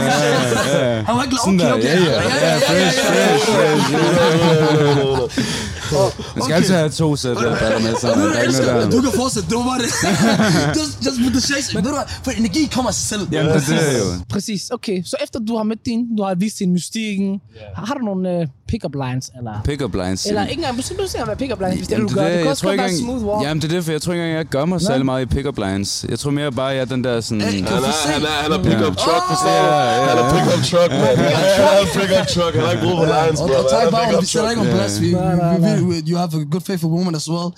Speaker 2: Han var ikke
Speaker 6: Sådan der,
Speaker 2: lovgivet.
Speaker 6: ja, ja. Ja, fresh, fresh, fresh. Man skal altid have to sæt der batter med sig.
Speaker 2: Jeg
Speaker 6: Der er ikke
Speaker 2: elsker,
Speaker 6: noget
Speaker 2: at
Speaker 6: der.
Speaker 2: du kan fortsætte, det var bare det. just, just put the shakes. Men ved du hvad, for energi kommer af sig selv.
Speaker 6: Jamen, det er det jo.
Speaker 1: Præcis. Okay, så efter du har mødt din, du har vist din mystikken, har, har du nogle uh, pick-up lines, eller?
Speaker 6: Pick-up lines.
Speaker 1: Eller
Speaker 6: Simon.
Speaker 1: ikke engang, du behøver ikke at være pick-up lines, hvis det er
Speaker 6: Jamen,
Speaker 1: det, du gør. Det kan
Speaker 6: jeg
Speaker 1: også
Speaker 6: tror
Speaker 1: godt
Speaker 6: ikke
Speaker 1: være
Speaker 6: engang-
Speaker 1: smooth walk.
Speaker 6: Jamen, det er det, for jeg tror ikke engang, jeg gør mig særlig meget i pick-up lines. Jeg tror mere bare, jeg er den der sådan...
Speaker 2: Hey,
Speaker 5: Han er, han er, han er pick-up truck, forstår du?
Speaker 6: Ja, ja, ja.
Speaker 5: Han er pick-up truck, mand. Han er- han er pick-up truck. Han har ikke brug for lines,
Speaker 2: Og,
Speaker 5: bro.
Speaker 2: og tak
Speaker 5: Han er
Speaker 2: bare,
Speaker 5: pick-up
Speaker 2: vi sætter
Speaker 5: truck.
Speaker 2: ikke om plads. Vi,
Speaker 1: Nej, nej,
Speaker 2: vi, vi, you have a good faith for women as well.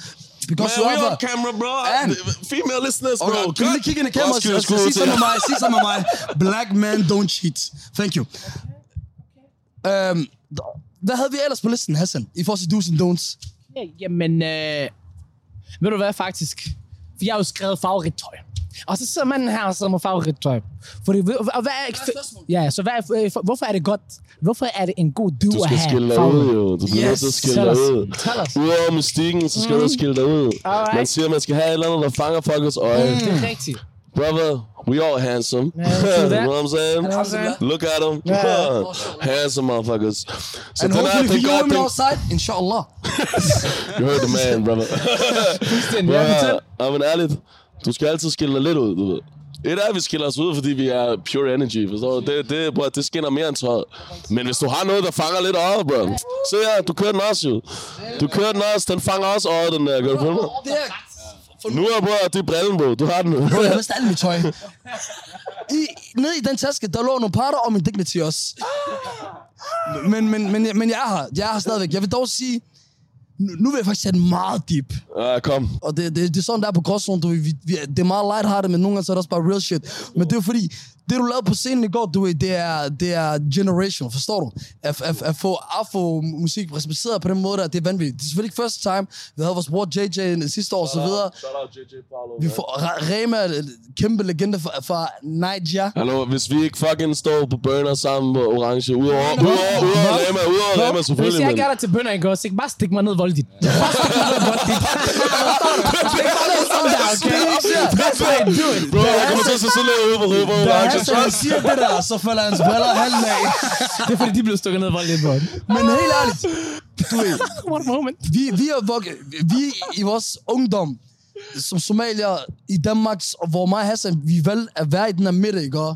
Speaker 2: Because
Speaker 5: Man,
Speaker 2: you
Speaker 5: we
Speaker 2: have
Speaker 5: on
Speaker 2: a...
Speaker 5: camera, bro.
Speaker 2: And-
Speaker 5: Female listeners, bro.
Speaker 2: Okay, kan du lige kigge ind i
Speaker 5: Bro,
Speaker 2: kameraet
Speaker 5: skyld,
Speaker 2: og
Speaker 5: skyld
Speaker 2: sige
Speaker 5: til-
Speaker 2: sammen med mig, sige sammen med mig. Black men don't cheat. Thank you. Øhm, hvad havde vi ellers på listen, Hassan? I forhold til do's and don'ts.
Speaker 1: Ja, Jamen, øh, ved du hvad faktisk? For jeg har jo skrevet favorittøj. Og så sidder manden her og sidder med favorittøj. For det, og hvad er, ja, så hvad er, øh, for- hvorfor er det godt? Hvorfor er det en god du,
Speaker 5: Du skal
Speaker 1: at have
Speaker 5: skille dig
Speaker 1: favorit?
Speaker 5: ud, jo. Du
Speaker 2: Yes,
Speaker 5: bliver nødt til at skille
Speaker 1: tell
Speaker 5: dig
Speaker 1: us.
Speaker 5: ud.
Speaker 1: Tell us. Mm-hmm.
Speaker 5: Udover mystikken, så skal du skille dig ud.
Speaker 1: Alright. Mm.
Speaker 5: Man siger, man skal have et eller andet, der fanger folkets øje.
Speaker 1: Det er rigtigt.
Speaker 5: Brother, we all handsome.
Speaker 1: true that.
Speaker 5: you know what I'm saying?
Speaker 2: Alhamdulillah.
Speaker 5: Look at them. handsome motherfuckers. Så
Speaker 2: And
Speaker 5: den er,
Speaker 2: hopefully
Speaker 5: den
Speaker 2: few
Speaker 5: godt,
Speaker 2: women
Speaker 5: den,
Speaker 2: outside, inshallah.
Speaker 5: You heard the man, brother.
Speaker 1: ja,
Speaker 5: Fuldstændig, ja, men ærligt, du skal altid skille dig lidt ud, du ved. Et er, at vi skiller os ud, fordi vi er pure energy, forstår du? Det, det, bror, det skinner mere end tøjet. Men hvis du har noget, der fanger lidt øjet, bro. Se her, du kører den også, jo. Du kører den også, den fanger også øjet, den der. Kan du følge mig?
Speaker 2: Det her,
Speaker 5: Nu er, bror, det er brillen, bro. Du har den.
Speaker 2: Bro, jeg mistede alt mit tøj. I, nede i den taske, der lå nogle parter og min dignity også. Men, men, men, men jeg er her. Jeg er her stadigvæk. Jeg vil dog sige, nu, nu vil jeg faktisk tage den meget deep.
Speaker 5: Ja, kom.
Speaker 2: Og det, det, det er sådan, der er på gråzonen. Du, ved, vi, vi, det er meget lighthearted, men nogle gange så er det også bare real shit. Men det er jo fordi, det du lavede på scenen i går, du ved, det er, det er generational, forstår du? At, at, at få afro-musik repræsenteret på den måde der, det er vanvittigt. Det er selvfølgelig ikke første time. Vi havde vores bror JJ sidste år og så videre. Vi får Ra- Rema, kæmpe legende fra, fra Nigeria.
Speaker 5: Hallo, hvis vi ikke fucking står på burner sammen på orange, udover, udover, udover Rema, udover Rema
Speaker 1: Hvis
Speaker 5: selvfølgelig,
Speaker 1: jeg
Speaker 5: men...
Speaker 1: ikke er der til bønder, ikke også? Ikke bare stik mig ned voldigt. Bare stik mig ned voldigt. Stik mig ned sådan der, okay? That's how you do it.
Speaker 5: Bro, jeg kommer til at sidde lidt ude på Rødbo
Speaker 2: Da
Speaker 5: Orange.
Speaker 2: Hassan siger det der, så falder hans briller halvt af.
Speaker 1: Det er fordi, de blev stukket ned voldigt, bro.
Speaker 2: Men helt ærligt, du ved,
Speaker 1: What a moment.
Speaker 2: vi, vi, er vok- vi i vores ungdom, som somalier i Danmark, og hvor mig og Hassan, vi valgte at være i den her midte, ikke? Og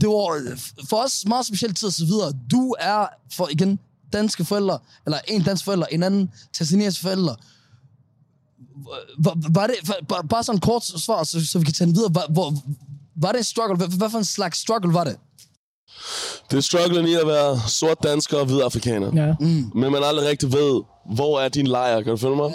Speaker 2: Det var for os meget speciel tid og så videre. Du er, for igen, danske forældre, eller en dansk forælder, en anden tanzaniansk forælder. Var, var det, var- bare, bare sådan en kort svar, så, så vi kan tage den videre. Var, hvor, var det en struggle? Hvad, hvad for en slags struggle var det?
Speaker 5: Det er strugglen i at være sort dansker og hvid afrikaner.
Speaker 1: Ja.
Speaker 5: Men man aldrig rigtig ved, hvor er din lejr, kan du følge mig?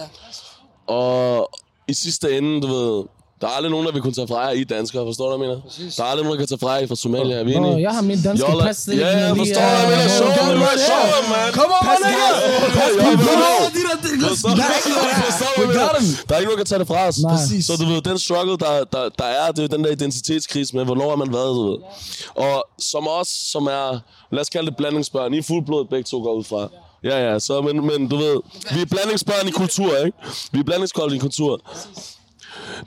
Speaker 5: Og i sidste ende, du ved, der er aldrig nogen, der vil kunne tage fra jer i er danskere, forstår du, hvad jeg mener? Der er aldrig nogen, der kan tage fra jer I er fra Somalia, er vi enige?
Speaker 1: Åh, jeg har min danske
Speaker 5: Jolla-
Speaker 1: pas.
Speaker 5: Ja, ja, forstår
Speaker 1: øh,
Speaker 5: du, hvad jeg mener? Show them, man, show them, man!
Speaker 2: Kom on, my nigga!
Speaker 5: Kom
Speaker 2: Kom
Speaker 5: på!
Speaker 2: on, de der...
Speaker 5: Forstår du, hvad jeg mener? Forstår du, hvad jeg
Speaker 2: got
Speaker 5: mener? Der er ikke nogen, der kan tage det fra os.
Speaker 2: Præcis.
Speaker 5: Så du ved, den struggle, der, der, der er, det er jo den der identitetskrise med, hvornår har man været, du ved. Og som os, som er, lad os kalde det blandingsbørn, I er fuldblod begge to går ud fra. Ja, ja, så, men, men du ved, vi er blandingsbørn i kultur, ikke? Vi er blandingskold i kultur.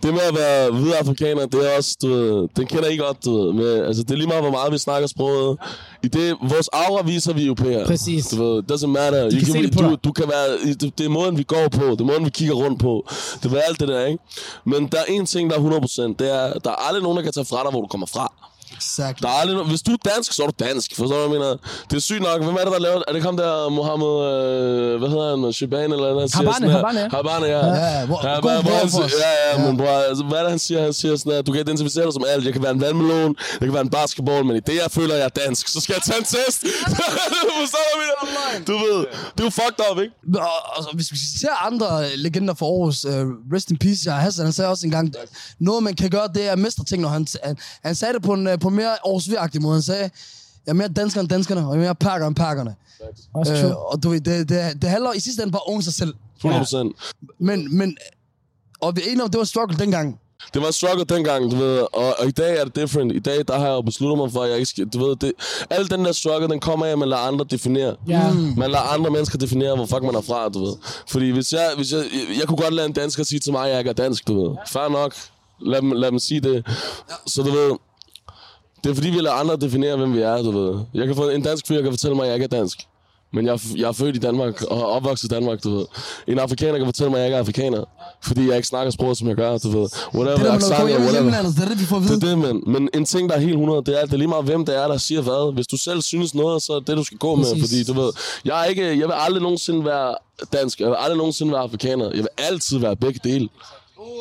Speaker 5: Det med at være hvide afrikaner, det er også, du ved, den kender I godt, du ved. Med, altså, det er lige meget, hvor meget vi snakker sproget. I det, vores aura viser vi europæer.
Speaker 1: Præcis.
Speaker 5: Du ved, doesn't matter. You
Speaker 1: kan se det på
Speaker 5: du,
Speaker 1: dig.
Speaker 5: du kan være, det, det er måden, vi går på. Det er måden, vi kigger rundt på. Det er alt det der, ikke? Men der er en ting, der er 100%. Det er, der er aldrig nogen, der kan tage fra dig, hvor du kommer fra.
Speaker 2: Exakt.
Speaker 5: Der er aldrig no- Hvis du er dansk, så er du dansk. Forstår du, hvad jeg mener? Det er sygt nok. Hvem er det, der laver Er det ham der, Mohammed... Øh, hvad hedder han? Shibane eller noget?
Speaker 1: Habane, Habane, ja.
Speaker 5: Habane, ja.
Speaker 2: Ja, ja, hvor-
Speaker 5: ja,
Speaker 2: god
Speaker 5: hvad,
Speaker 2: bror
Speaker 5: hvor han
Speaker 2: for os.
Speaker 5: siger, ja, ja,
Speaker 2: Ja.
Speaker 5: men bror, altså, hvad er det, han siger? Han siger sådan, at du kan identificere dig som alt. Jeg kan være en vandmelon, jeg kan være en basketball, men i det, jeg føler, jeg er dansk, så skal jeg tage en test. Forstår du, hvad jeg mener? Du ved, det er jo fucked up, ikke?
Speaker 2: Og, og så, altså, hvis vi ser andre øh, legender fra Aarhus, uh, rest in peace, Jair Hassan, han sagde også engang, noget man kan gøre, det er at mestre ting, når han, han, han sagde det på en, øh, på en mere aarhus måde. Han sagde, jeg er mere dansker end danskerne, og jeg er mere pakker end pakkerne.
Speaker 1: Også
Speaker 2: Øh,
Speaker 1: true.
Speaker 2: og du ved, det, det, det handler i sidste ende bare om sig selv.
Speaker 5: 100 procent.
Speaker 2: Men, men, og vi er enige om, det var en struggle dengang.
Speaker 5: Det var en struggle dengang, du ved, og, og i dag er det different. I dag, der har jeg jo besluttet mig for, at jeg ikke skal, du ved, det, al den der struggle, den kommer af, at man lader andre definere. Mm.
Speaker 1: Ja.
Speaker 5: Man lader andre mennesker definere, hvor fuck man er fra, du ved. Fordi hvis jeg, hvis jeg, jeg, jeg kunne godt lade en dansker sige til mig, at jeg ikke er dansk, du ved. Fair nok. Lad dem, lad dem sige det. Så du ved, det er fordi, vi lader andre definere, hvem vi er, du ved. Jeg kan få en dansk fyr, kan fortælle mig, at jeg ikke er dansk. Men jeg, er f- jeg er født i Danmark og er opvokset i Danmark, du ved. En afrikaner kan fortælle mig, at jeg ikke er afrikaner. Fordi jeg ikke snakker sproget, som jeg gør, du ved. Whatever,
Speaker 2: Det der,
Speaker 5: accent,
Speaker 2: man kommer hjem i
Speaker 5: whatever.
Speaker 2: hjemlandet, det er det, vi får at vide.
Speaker 5: Det er det, men, men en ting, der er helt 100, det er, at det er lige meget, hvem det er, der siger hvad. Hvis du selv synes noget, så er det det, du skal gå med.
Speaker 1: Præcis.
Speaker 5: Fordi du ved, jeg, er ikke, jeg vil aldrig nogensinde være dansk. Jeg vil aldrig nogensinde være afrikaner. Jeg vil altid være begge dele.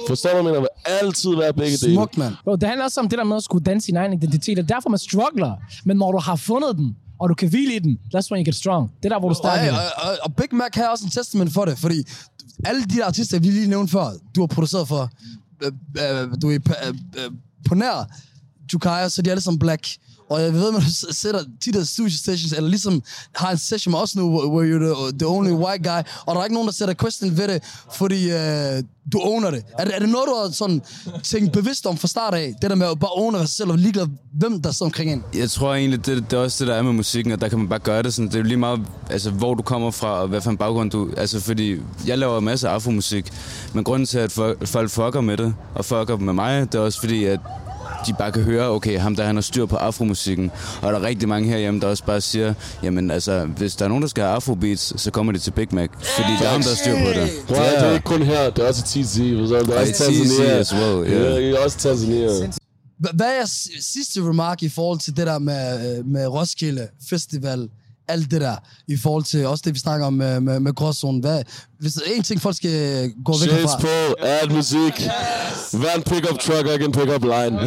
Speaker 5: Forstår du, hvad jeg mener? Jeg vil altid være begge dele.
Speaker 2: Smukt, mand.
Speaker 1: Bro, det handler også om det der med at skulle danne sin egen identitet, og derfor man struggler. Men når du har fundet den, og du kan hvile i den, that's when you get strong. Det er der, hvor du starter.
Speaker 2: Og, og, og, og Big Mac har også en testament for det, fordi alle de der artister, vi lige nævnte før, du har produceret for, øh, øh, du er øh, øh, på nær Jukaya, så de er alle sammen black. Og jeg ved, at du s- sætter de der studio sessions, eller ligesom har en session med os nu, hvor hvor you're the, the only white guy, og der er ikke nogen, der sætter question ved det, fordi øh, du owner det. Er, det- er det noget, du har sådan tænkt bevidst om fra start af? Det der med at bare owner sig selv, og ligeglad hvem der sidder omkring en.
Speaker 6: Jeg tror egentlig, det, det er også det, der er med musikken, at der kan man bare gøre det sådan. Det er jo lige meget, altså, hvor du kommer fra, og hvad for en baggrund du... Altså, fordi jeg laver masser af afromusik, men grunden til, at folk, folk fucker med det, og fucker med mig, det er også fordi, at de bare kan høre, okay, ham der han har styr på afromusikken. Og der er rigtig mange herhjemme, der også bare siger, jamen altså, hvis der er nogen, der skal have afrobeats, så kommer de til Big Mac, fordi der er ham, der har styr på det.
Speaker 5: Prøv, at- Det er ikke kun her, det er også i TZ. forstår du? Det er også i
Speaker 6: i
Speaker 5: Tanzania.
Speaker 6: TZ as well, ja.
Speaker 5: Ja, det er også i Tanzania.
Speaker 2: Hva- Hvad er jeres sidste remark i forhold til det der med, øh, med Roskilde Festival, alt det der, i forhold til også det, vi snakker om med, med, med gråzonen? Hvad, hvis der er en ting, folk skal øh, gå væk
Speaker 5: Shades
Speaker 2: fra,
Speaker 5: på, add musik. Vær en pickup truck, ikke en pickup line.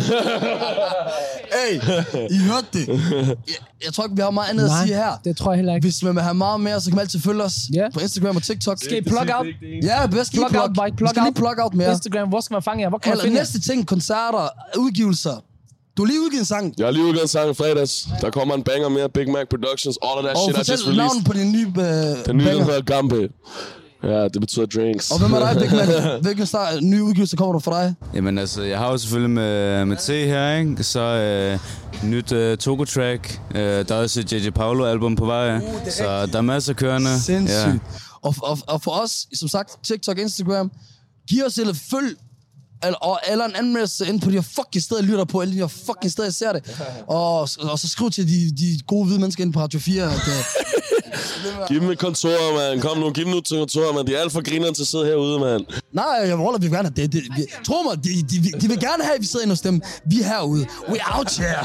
Speaker 2: I hørte det. Jeg, jeg tror ikke, vi har meget andet at sige her.
Speaker 1: det tror jeg heller ikke.
Speaker 2: Hvis man vil have meget mere, så kan man altid følge os
Speaker 1: Ja.
Speaker 2: på Instagram og TikTok.
Speaker 1: Skal I plug out?
Speaker 2: Ja, bedst lige
Speaker 1: Plug out, Mike,
Speaker 2: Vi
Speaker 1: plug
Speaker 2: skal lige
Speaker 1: out.
Speaker 2: plug out mere.
Speaker 1: Instagram, hvor skal man fange jer? Hvor kan man
Speaker 2: Eller
Speaker 1: finde jer?
Speaker 2: næste ting, koncerter, udgivelser. Du har lige udgivet en sang.
Speaker 5: Jeg har lige udgivet en sang i fredags. Der kommer en banger mere, Big Mac Productions, all of that
Speaker 2: Og
Speaker 5: shit, I just
Speaker 2: fortæl
Speaker 5: released.
Speaker 2: navnet på din nye øh,
Speaker 5: Den nye, den
Speaker 2: banger.
Speaker 5: hedder Gambe. Ja, det betyder drinks.
Speaker 2: Og hvem er dig, Big Man? Hvilken start, nye udgivelse kommer du fra dig?
Speaker 6: Jamen altså, jeg har jo selvfølgelig med, med T her, ikke? Så øh, nyt øh, Togo-track. Øh, der er også et J.J. Paolo-album på vej. Uh, så der er masser kørende.
Speaker 2: Sindssygt. Ja. Og, og, og for os, som sagt, TikTok, Instagram, giv os eller følg, eller, og, eller en anmeldelse ind på de her fucking steder, jeg lytter på, eller de her fucking steder, jeg ser det. Og, og så skriv til de, de gode hvide mennesker inde på Radio 4, at øh,
Speaker 5: Giv dem et kontor, mand. Kom nu, giv dem nu til kontor, mand. De er alt for grinerne til at sidde herude, mand.
Speaker 2: nej, jeg roller, vi vil gerne have det. det vi, tro mig, de, de, de, vil gerne have, at vi sidder inde hos dem. Vi er herude. We out here.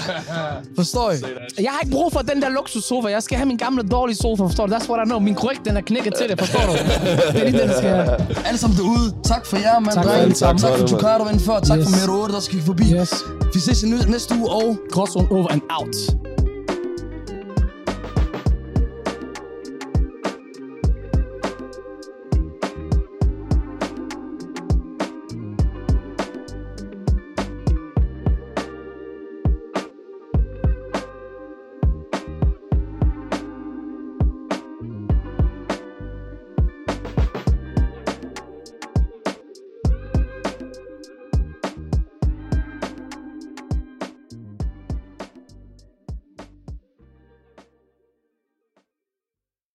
Speaker 2: Forstår I?
Speaker 1: Jeg har ikke brug for den der luksussofa. Jeg skal have min gamle dårlige sofa, forstår du? That's what I know. Min kryg, den er knækket til det, forstår du? det er lige det, der skal have.
Speaker 2: Alle sammen derude. Tak for jer, mand.
Speaker 1: Tak for
Speaker 2: drenge.
Speaker 1: alt
Speaker 2: tak
Speaker 5: sammen.
Speaker 2: for Jukar, der var inde før. Tak
Speaker 1: Yes.
Speaker 2: for Mero, der skal forbi.
Speaker 1: Yes.
Speaker 2: Vi ses i ny- næste uge, og
Speaker 1: Gråzone over and out.